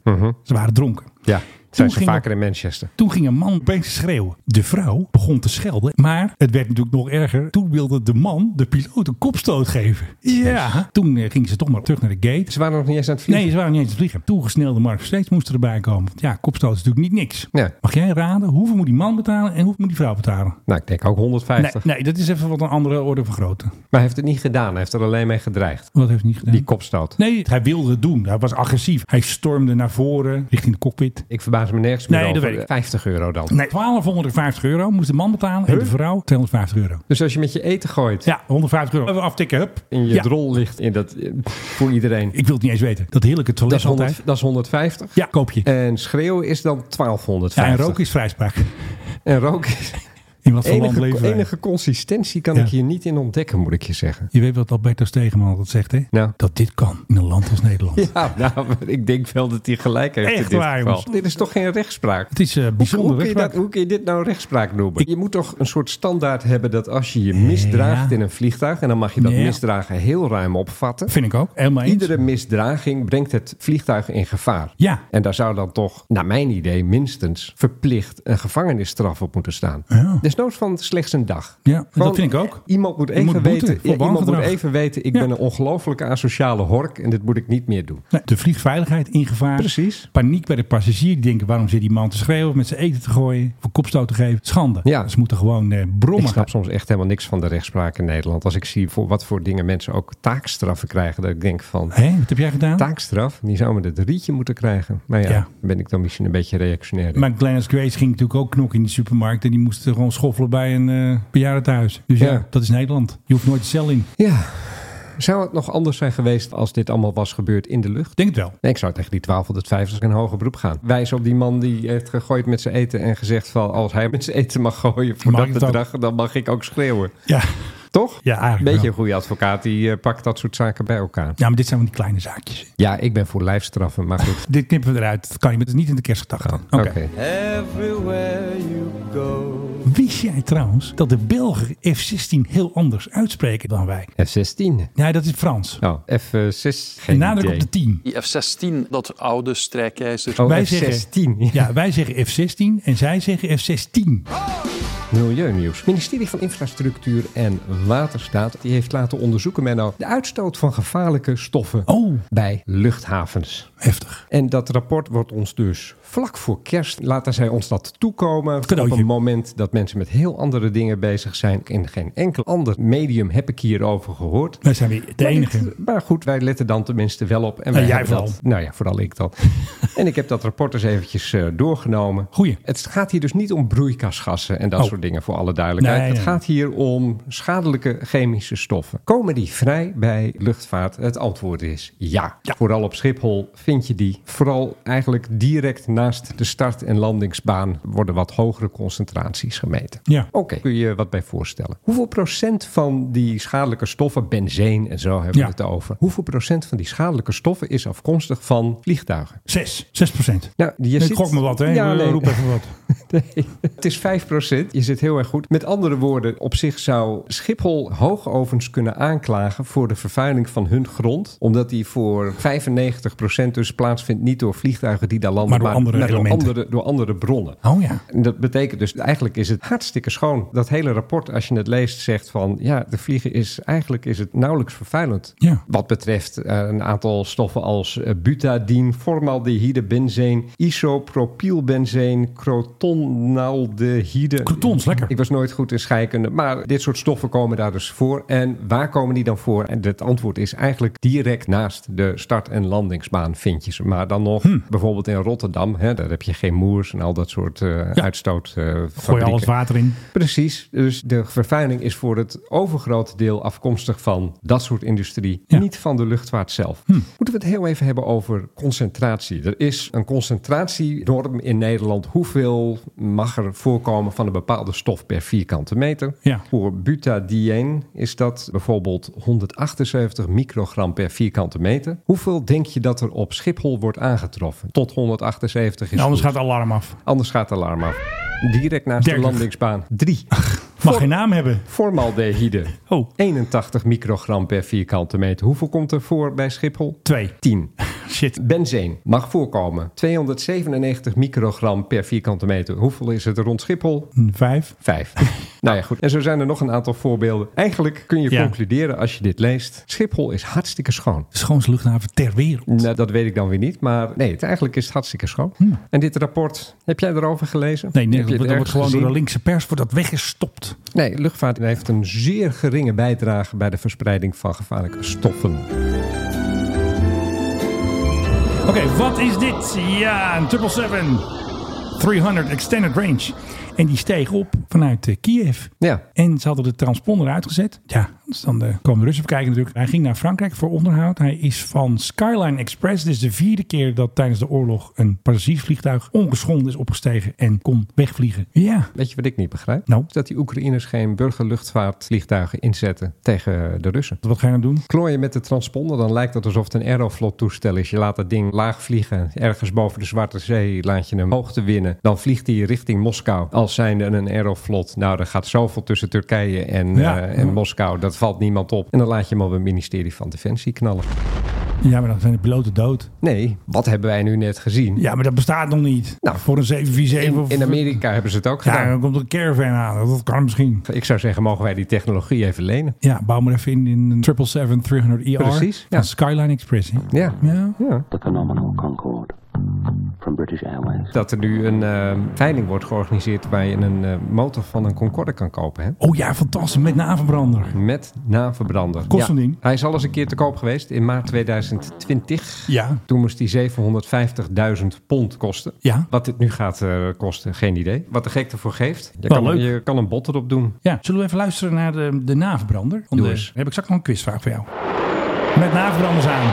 [SPEAKER 7] Ze waren dronken.
[SPEAKER 6] Ja, zijn ze
[SPEAKER 7] ging
[SPEAKER 6] vaker in Manchester.
[SPEAKER 7] Toen ging een man opeens schreeuwen. De vrouw begon te schelden, maar het werd natuurlijk nog erger. Toen wilde de man de piloot een kopstoot geven. Ja, toen eh, gingen ze toch maar terug naar de gate.
[SPEAKER 6] Ze waren nog niet eens aan het vliegen.
[SPEAKER 7] Nee, ze waren niet eens te vliegen. Toegesnelde Mark Steeds moest erbij komen. Want ja, kopstoot is natuurlijk niet niks.
[SPEAKER 6] Nee.
[SPEAKER 7] Mag jij raden hoeveel moet die man betalen en hoeveel moet die vrouw betalen?
[SPEAKER 6] Nou, ik denk ook
[SPEAKER 7] Nee,
[SPEAKER 6] 150.
[SPEAKER 7] nee, dat is even wat een andere orde van grootte.
[SPEAKER 6] Maar hij heeft het niet gedaan. Hij heeft er alleen mee gedreigd.
[SPEAKER 7] Wat heeft hij niet gedaan?
[SPEAKER 6] Die kopstoot.
[SPEAKER 7] Nee, hij wilde het doen. Hij was agressief. Hij stormde naar voren, richting de cockpit.
[SPEAKER 6] Ik verbaas me nergens meer
[SPEAKER 7] Nee, dat
[SPEAKER 6] over.
[SPEAKER 7] weet ik.
[SPEAKER 6] 50 euro dan.
[SPEAKER 7] Nee, 1250 euro moest de man betalen en de vrouw 250 euro.
[SPEAKER 6] Dus als je met je eten gooit
[SPEAKER 7] Ja, 150 euro. Even aftikken, hup.
[SPEAKER 6] en je
[SPEAKER 7] ja.
[SPEAKER 6] drol ligt in dat, eh, voor iedereen.
[SPEAKER 7] Ik wil het niet eens weten. Dat heerlijke
[SPEAKER 6] Dat
[SPEAKER 7] toilet
[SPEAKER 6] is,
[SPEAKER 7] altijd.
[SPEAKER 6] 100, dat is 150.
[SPEAKER 7] Ja, koop je.
[SPEAKER 6] En schreeuwen is dan
[SPEAKER 7] Ja,
[SPEAKER 6] 1250.
[SPEAKER 7] en rook is vrijspraak.
[SPEAKER 6] En rook is-
[SPEAKER 7] In wat voor land leven
[SPEAKER 6] Enige,
[SPEAKER 7] wij?
[SPEAKER 6] enige consistentie kan
[SPEAKER 7] Ja.
[SPEAKER 6] ik hier niet in ontdekken, moet ik je zeggen.
[SPEAKER 7] Je weet wat Alberto Stegeman altijd zegt, hè?
[SPEAKER 6] Nou.
[SPEAKER 7] Dat dit kan in een land als Nederland.
[SPEAKER 6] Ja, nou, maar ik denk wel dat hij gelijk heeft
[SPEAKER 7] Echt
[SPEAKER 6] in dit
[SPEAKER 7] waar,
[SPEAKER 6] geval.
[SPEAKER 7] jongens.
[SPEAKER 6] Dit is toch geen rechtspraak?
[SPEAKER 7] Het is eh,
[SPEAKER 6] Hoe,
[SPEAKER 7] bijzonder.
[SPEAKER 6] hoe kun je
[SPEAKER 7] rechtspraak.
[SPEAKER 6] dat, hoe kun je dit nou rechtspraak noemen? Je moet toch een soort standaard hebben dat als je je misdraagt in een vliegtuig... en dan mag je dat
[SPEAKER 7] Ja.
[SPEAKER 6] misdragen heel ruim opvatten.
[SPEAKER 7] Vind ik ook. Helemaal eens.
[SPEAKER 6] Iedere misdraging brengt het vliegtuig in gevaar.
[SPEAKER 7] Ja.
[SPEAKER 6] En daar zou dan toch, naar mijn idee, minstens verplicht een gevangenisstraf op moeten staan.
[SPEAKER 7] Ja.
[SPEAKER 6] Desnoods van slechts een dag.
[SPEAKER 7] Ja, dat vind ik ook.
[SPEAKER 6] Iemand moet
[SPEAKER 7] Je
[SPEAKER 6] even,
[SPEAKER 7] moet boeten
[SPEAKER 6] weten,
[SPEAKER 7] voor
[SPEAKER 6] ja, iemand moet
[SPEAKER 7] wangedrag.
[SPEAKER 6] even weten, ik
[SPEAKER 7] Ja.
[SPEAKER 6] ben een ongelofelijke asociale hork en dit moet ik niet meer doen.
[SPEAKER 7] Nee, De vliegveiligheid in gevaar.
[SPEAKER 6] Precies.
[SPEAKER 7] Paniek bij de passagier. Die denken, waarom zit die man te schreeuwen of met zijn eten te gooien? Voor kopstoot te geven. Schande.
[SPEAKER 6] Ja.
[SPEAKER 7] Ze moeten gewoon eh,
[SPEAKER 6] Ik
[SPEAKER 7] brommen.
[SPEAKER 6] snap soms echt helemaal niks van de rechtspraak in Nederland. Als ik zie voor wat voor dingen mensen ook taakstraffen krijgen, dat ik denk van...
[SPEAKER 7] Hé, wat heb jij gedaan?
[SPEAKER 6] Taakstraf, die zou met het rietje moeten krijgen. Maar ja,
[SPEAKER 7] Ja.
[SPEAKER 6] daar ben ik dan misschien een beetje reactionair. in.
[SPEAKER 7] Maar Glennis Grace ging natuurlijk ook knokken in die supermarkt. En die moest eh, gewoon schoffelen bij een eh bejaardentehuis. Dus ja.
[SPEAKER 6] Ja.
[SPEAKER 7] dat is Nederland. Je hoeft nooit de cel in. Ik
[SPEAKER 6] Ja, zou het nog anders zijn geweest als dit allemaal was gebeurd in de lucht?
[SPEAKER 7] Denk het wel.
[SPEAKER 6] Nee, ik zou tegen die 1250 in hoger beroep gaan. Wijs op die man die heeft gegooid met zijn eten en gezegd van... als hij met zijn eten mag gooien voor
[SPEAKER 7] Mag ik
[SPEAKER 6] dat
[SPEAKER 7] het ook?
[SPEAKER 6] bedrag, dan mag ik ook schreeuwen.
[SPEAKER 7] Ja.
[SPEAKER 6] Toch?
[SPEAKER 7] Ja, eigenlijk
[SPEAKER 6] Beetje
[SPEAKER 7] wel.
[SPEAKER 6] een goede advocaat, die eh, pakt dat soort zaken bij elkaar.
[SPEAKER 7] ja, maar dit zijn van die kleine zaakjes.
[SPEAKER 6] Ja, ik ben voor lijfstraffen, maar goed.
[SPEAKER 7] Dit knippen we eruit. Dat kan niet, maar het is niet in de kerstgedachte. Oké.
[SPEAKER 6] Oké.
[SPEAKER 8] Everywhere you go.
[SPEAKER 7] Wist jij trouwens dat de Belgen F-16 heel anders uitspreken dan wij?
[SPEAKER 6] F16.
[SPEAKER 7] Nee, dat is Frans.
[SPEAKER 6] Oh, F6.
[SPEAKER 7] De
[SPEAKER 6] Geen
[SPEAKER 7] nadruk
[SPEAKER 6] idee.
[SPEAKER 7] op de 10.
[SPEAKER 4] Die F-16, dat oude strijkijzer.
[SPEAKER 6] Oh,
[SPEAKER 7] Wij
[SPEAKER 6] F16.
[SPEAKER 7] zeggen- Ja, wij zeggen F-16 en zij zeggen F-16.
[SPEAKER 6] Milieunieuws. Het ministerie van Infrastructuur en Waterstaat die heeft laten onderzoeken, Menno, de uitstoot van gevaarlijke stoffen
[SPEAKER 7] Oh,
[SPEAKER 6] bij luchthavens.
[SPEAKER 7] heftig.
[SPEAKER 6] En dat rapport wordt ons dus vlak voor kerst, laten zij ons dat toekomen.
[SPEAKER 7] Cadeautje.
[SPEAKER 6] Op een moment dat mensen met heel andere dingen bezig zijn. In geen enkel ander medium heb ik hierover gehoord.
[SPEAKER 7] Wij zijn weer de
[SPEAKER 6] Maar dit-
[SPEAKER 7] enige.
[SPEAKER 6] maar goed, wij letten dan tenminste wel op. En
[SPEAKER 7] Nou,
[SPEAKER 6] wij
[SPEAKER 7] jij
[SPEAKER 6] hebben dat-
[SPEAKER 7] vooral.
[SPEAKER 6] nou ja, vooral ik dan. en ik heb dat rapport eens eventjes eh, doorgenomen.
[SPEAKER 7] Goeie.
[SPEAKER 6] Het gaat hier dus niet om broeikasgassen en dat
[SPEAKER 7] Oh.
[SPEAKER 6] soort dingen voor alle duidelijkheid.
[SPEAKER 7] Nee,
[SPEAKER 6] het
[SPEAKER 7] nee.
[SPEAKER 6] gaat hier om schadelijke chemische stoffen. Komen die vrij bij luchtvaart? Het antwoord is ja.
[SPEAKER 7] Ja.
[SPEAKER 6] Vooral op Schiphol vind je die. Vooral eigenlijk direct naast de start- en landingsbaan worden wat hogere concentraties gemeten.
[SPEAKER 7] Ja.
[SPEAKER 6] Oké, kun je je wat bij voorstellen. Hoeveel procent van die schadelijke stoffen, benzeen en zo hebben we
[SPEAKER 7] Ja.
[SPEAKER 6] het over. Hoeveel procent van die schadelijke stoffen is afkomstig van vliegtuigen?
[SPEAKER 7] Zes. Zes procent.
[SPEAKER 6] Nou, je
[SPEAKER 7] Ik
[SPEAKER 6] zit-
[SPEAKER 7] gok me wat, hè?
[SPEAKER 6] Ja,
[SPEAKER 7] Ik
[SPEAKER 6] nee.
[SPEAKER 7] roep even wat.
[SPEAKER 6] Nee, het is 5%. Je zit heel erg goed. Met andere woorden, op zich zou Schiphol hoogovens kunnen aanklagen voor de vervuiling van hun grond. Omdat die voor 95% dus plaatsvindt niet door vliegtuigen die daar landen,
[SPEAKER 7] Maar door andere
[SPEAKER 6] door
[SPEAKER 7] elementen.
[SPEAKER 6] andere, door andere bronnen.
[SPEAKER 7] Oh ja.
[SPEAKER 6] En dat betekent dus, eigenlijk is het hartstikke schoon. Dat hele rapport, als je het leest, zegt van... ja, de vliegen is, eigenlijk is het nauwelijks vervuilend.
[SPEAKER 7] Ja.
[SPEAKER 6] Wat betreft eh, een aantal stoffen als eh, butadien, formaldehyde, benzeen... isopropylbenzeen, crotonaldehyde.
[SPEAKER 7] Crotons, lekker.
[SPEAKER 6] Ik was nooit goed in scheikunde, maar dit soort stoffen komen daar dus voor. En waar komen die dan voor? En het antwoord is eigenlijk direct naast de start- en landingsbaan vind je ze. Maar dan nog,
[SPEAKER 7] Hm.
[SPEAKER 6] bijvoorbeeld in Rotterdam, hè, daar heb je geen moers en al dat soort eh
[SPEAKER 7] Ja.
[SPEAKER 6] uitstoot. eh,
[SPEAKER 7] Gooi al
[SPEAKER 6] fabrieken.
[SPEAKER 7] het water in.
[SPEAKER 6] Precies, dus de vervuiling is voor het overgrote deel afkomstig van dat soort industrie,
[SPEAKER 7] Ja. Hm.
[SPEAKER 6] niet van de luchtvaart zelf. Moeten we het heel even hebben over concentratie. Er is een concentratienorm in Nederland. Hoeveel mag er voorkomen van een bepaalde stof per vierkante meter?
[SPEAKER 7] Ja.
[SPEAKER 6] Voor butadien is dat bijvoorbeeld 178 microgram per vierkante meter. Hoeveel denk je dat er op Schiphol wordt aangetroffen? Tot 178 is
[SPEAKER 7] Nou, anders
[SPEAKER 6] goed.
[SPEAKER 7] gaat het alarm af.
[SPEAKER 6] Anders gaat het alarm af. Direct naast
[SPEAKER 7] Dertig.
[SPEAKER 6] de landingsbaan. 3.
[SPEAKER 7] Mag geen naam hebben.
[SPEAKER 6] Formaldehyde.
[SPEAKER 7] Oh.
[SPEAKER 6] 81 microgram per vierkante meter. Hoeveel komt er voor bij Schiphol?
[SPEAKER 7] Twee.
[SPEAKER 6] 10.
[SPEAKER 7] Shit.
[SPEAKER 6] Benzeen mag voorkomen. 297 microgram per vierkante meter. Hoeveel is het rond Schiphol?
[SPEAKER 7] Vijf.
[SPEAKER 6] Vijf. nou ja, goed. En zo zijn er nog een aantal voorbeelden. Eigenlijk kun je
[SPEAKER 7] Ja.
[SPEAKER 6] concluderen als je dit leest. Schiphol is hartstikke schoon.
[SPEAKER 7] De schoonste luchthaven ter wereld.
[SPEAKER 6] Nou, dat weet ik dan weer niet, maar nee, het, eigenlijk is het hartstikke schoon. En dit rapport, heb jij erover gelezen?
[SPEAKER 7] Hmm. Nee, nee
[SPEAKER 6] Heb je
[SPEAKER 7] dat, dat
[SPEAKER 6] het
[SPEAKER 7] wordt
[SPEAKER 6] ergens
[SPEAKER 7] gewoon door de
[SPEAKER 6] gezien?
[SPEAKER 7] linkse pers wordt dat weggestopt.
[SPEAKER 6] Nee, luchtvaart heeft een zeer geringe bijdrage bij de verspreiding van gevaarlijke stoffen.
[SPEAKER 7] Oké, wat is dit? Ja, een 777 300 Extended Range. En die steeg op vanuit eh, Kiev.
[SPEAKER 6] Ja,
[SPEAKER 7] En ze hadden de transponder uitgezet. Ja, dus dan eh, komen de Russen even kijken natuurlijk. Hij ging naar Frankrijk voor onderhoud. Hij is van Skyline Express. Dit is de vierde keer dat tijdens de oorlog een passagiersvliegtuig ongeschonden is opgestegen en kon wegvliegen. Ja,
[SPEAKER 6] weet je wat ik niet begrijp?
[SPEAKER 7] Nou?
[SPEAKER 6] Dat die Oekraïners geen burgerluchtvaartvliegtuigen inzetten tegen de Russen.
[SPEAKER 7] wat ga je nou doen?
[SPEAKER 6] Klooien met de transponder, dan lijkt het alsof het een Aeroflot-toestel is. Je laat dat ding laag vliegen. Ergens boven de Zwarte Zee laat je hem hoogte winnen. Dan vliegt hij richting Moskou. Als zijnde een Aeroflot. Nou, er gaat zoveel tussen Turkije en,
[SPEAKER 7] Ja.
[SPEAKER 6] eh, en Moskou. Dat valt niemand op. En dan laat je hem op het ministerie van Defensie knallen.
[SPEAKER 7] Ja, maar dan zijn de piloten dood.
[SPEAKER 6] Nee, wat hebben wij nu net gezien?
[SPEAKER 7] Ja, maar dat bestaat nog niet.
[SPEAKER 6] Nou,
[SPEAKER 7] voor een 747
[SPEAKER 6] In,
[SPEAKER 7] of-
[SPEAKER 6] in Amerika hebben ze het ook
[SPEAKER 7] Ja,
[SPEAKER 6] gedaan.
[SPEAKER 7] dan komt er een caravan aan. Dat kan misschien.
[SPEAKER 6] Ik zou zeggen, mogen wij die technologie even lenen?
[SPEAKER 7] Ja, bouw maar even in in een 777-300ER.
[SPEAKER 6] Precies,
[SPEAKER 7] E Van
[SPEAKER 6] ja.
[SPEAKER 7] Skyline Express. hè?
[SPEAKER 6] Ja.
[SPEAKER 7] Ja.
[SPEAKER 6] ja.
[SPEAKER 5] The phenomenal Concorde from British Airways.
[SPEAKER 6] Dat er nu een eh, veiling wordt georganiseerd waar je een eh, motor van een Concorde kan kopen. Hè?
[SPEAKER 7] Oh ja, fantastisch. Met naverbrander.
[SPEAKER 6] Met naamverbrander.
[SPEAKER 7] Kost een ding.
[SPEAKER 6] Hij is al eens een keer te koop geweest in maart 2020.
[SPEAKER 7] Ja.
[SPEAKER 6] Toen moest die 750.000 pond kosten.
[SPEAKER 7] Ja.
[SPEAKER 6] Wat dit nu gaat eh, kosten, geen idee. Wat de gek ervoor geeft. Je,
[SPEAKER 7] Wel
[SPEAKER 6] kan,
[SPEAKER 7] leuk.
[SPEAKER 6] je kan een bot erop doen.
[SPEAKER 7] Ja, zullen we even luisteren naar de, de naverbrander? Want,
[SPEAKER 6] Doe
[SPEAKER 7] eh,
[SPEAKER 6] eens.
[SPEAKER 7] dan heb ik straks nog een quizvraag voor jou. Met naverbranders aan.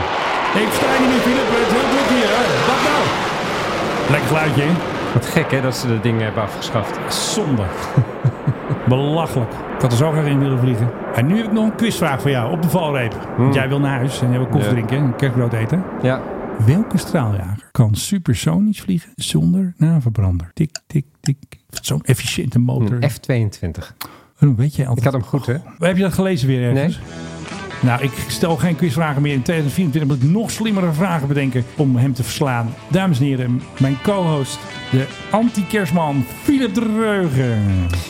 [SPEAKER 7] Ik versta je niet, Filip. Het is heel druk hier. hè. Wat nou? Lekker geluidje, hè?
[SPEAKER 6] Wat gek hè, dat ze dat ding hebben afgeschaft.
[SPEAKER 7] Zonde. Belachelijk. Ik had er zo graag in willen vliegen. En nu heb ik nog een quizvraag voor jou op de valreep. Want jij wil naar huis en jij wil koffie
[SPEAKER 6] Hmm. Ja.
[SPEAKER 7] drinken en kerstbrood eten.
[SPEAKER 6] Ja,
[SPEAKER 7] Welke straaljager kan supersonisch vliegen zonder naverbrander? Tik, tik, tik. Zo'n efficiënte motor.
[SPEAKER 6] een F-22.
[SPEAKER 7] Waarom weet jij altijd?
[SPEAKER 6] Hmm. Ik had hem goed hè.
[SPEAKER 7] Heb je dat gelezen weer ergens? Nou, ik stel geen quizvragen meer in 2024. Moet ik nog slimmere vragen bedenken om hem te verslaan. Dames en heren, mijn co-host, de anti-kerstman Philip Dreugen.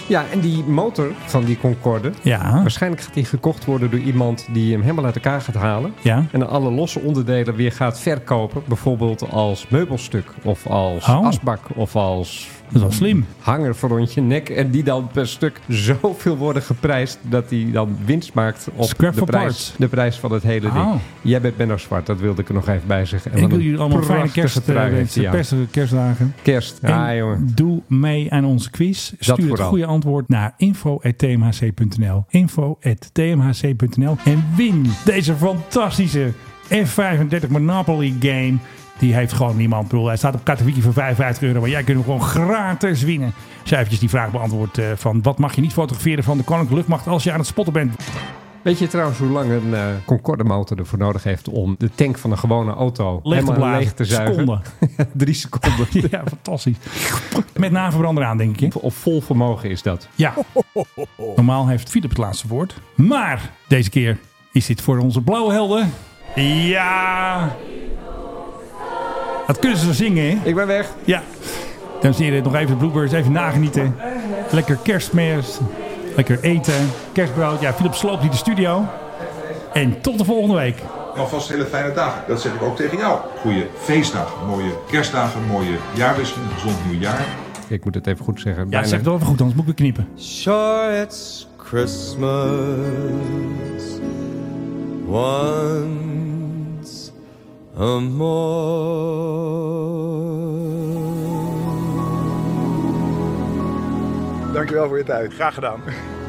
[SPEAKER 6] Ja, en die motor van die Concorde.
[SPEAKER 7] Ja,
[SPEAKER 6] Waarschijnlijk gaat die gekocht worden door iemand die hem helemaal uit elkaar gaat halen.
[SPEAKER 7] ja.
[SPEAKER 6] En dan alle losse onderdelen weer gaat verkopen. Bijvoorbeeld als meubelstuk. Of als
[SPEAKER 7] Oh.
[SPEAKER 6] asbak. Of als
[SPEAKER 7] Dat is wel slim.
[SPEAKER 6] hanger voor rond je nek. En die dan per stuk zoveel worden geprijsd. Dat die dan winst maakt op
[SPEAKER 7] Scrap
[SPEAKER 6] de
[SPEAKER 7] for
[SPEAKER 6] prijs,
[SPEAKER 7] parts.
[SPEAKER 6] de prijs van het hele ding.
[SPEAKER 7] Oh.
[SPEAKER 6] Jij bent Benno Zwart. Dat wilde ik er nog even bij zeggen. En
[SPEAKER 7] Ik
[SPEAKER 6] wat
[SPEAKER 7] wil
[SPEAKER 6] een
[SPEAKER 7] jullie allemaal fijne
[SPEAKER 6] prachtige
[SPEAKER 7] kerst eh,
[SPEAKER 6] trui heeft
[SPEAKER 7] wensen.
[SPEAKER 6] hij aan.
[SPEAKER 7] Persige kerstdagen.
[SPEAKER 6] Kerst. Ah,
[SPEAKER 7] En
[SPEAKER 6] jongen.
[SPEAKER 7] Doe mee aan onze quiz. Stuur het
[SPEAKER 6] vooral.
[SPEAKER 7] goede antwoord naar info.tmhc.nl. Info.tmhc.nl. En win deze fantastische F35 Monopoly game. Die heeft gewoon niemand. Ik bedoel, hij staat op Katowiki voor 55 euro. Maar jij kunt hem gewoon gratis winnen. Cijfertjes die vraag beantwoord eh, van... Wat mag je niet fotograferen van de Koninklijke Luchtmacht als je aan het spotten bent?
[SPEAKER 6] Weet je trouwens hoe lang een eh, Concorde motor ervoor nodig heeft om de tank van een gewone auto
[SPEAKER 7] Leeg te
[SPEAKER 6] helemaal
[SPEAKER 7] blazen.
[SPEAKER 6] leeg te zuigen?
[SPEAKER 7] Seconden.
[SPEAKER 6] Drie seconden.
[SPEAKER 7] ja, fantastisch. Met naverbrander aan, denk ik. hè?
[SPEAKER 6] Op vol vermogen is dat.
[SPEAKER 7] Ja. Normaal heeft Philip het laatste woord. Maar deze keer is dit voor onze blauwe helden. Ja. Dat kunnen ze zingen, hè?
[SPEAKER 6] Ik ben weg.
[SPEAKER 7] Ja. Dames en heren, nog even de bloopers, even nagenieten. Lekker kerstmis, lekker eten, kerstbrood. Ja, Philip sloopt hier de studio. En tot de volgende week.
[SPEAKER 2] Alvast hele fijne dagen. Dat zeg ik ook tegen jou. Goeie feestdagen, mooie kerstdagen, mooie jaarwisseling, gezond nieuwjaar.
[SPEAKER 6] Ik moet het even goed zeggen.
[SPEAKER 7] Ja,
[SPEAKER 6] Bijna.
[SPEAKER 7] zeg het wel even goed, anders moet ik weer knippen.
[SPEAKER 8] Sure, it's Christmas once a more.
[SPEAKER 1] Dankjewel voor je tijd.
[SPEAKER 3] Graag gedaan.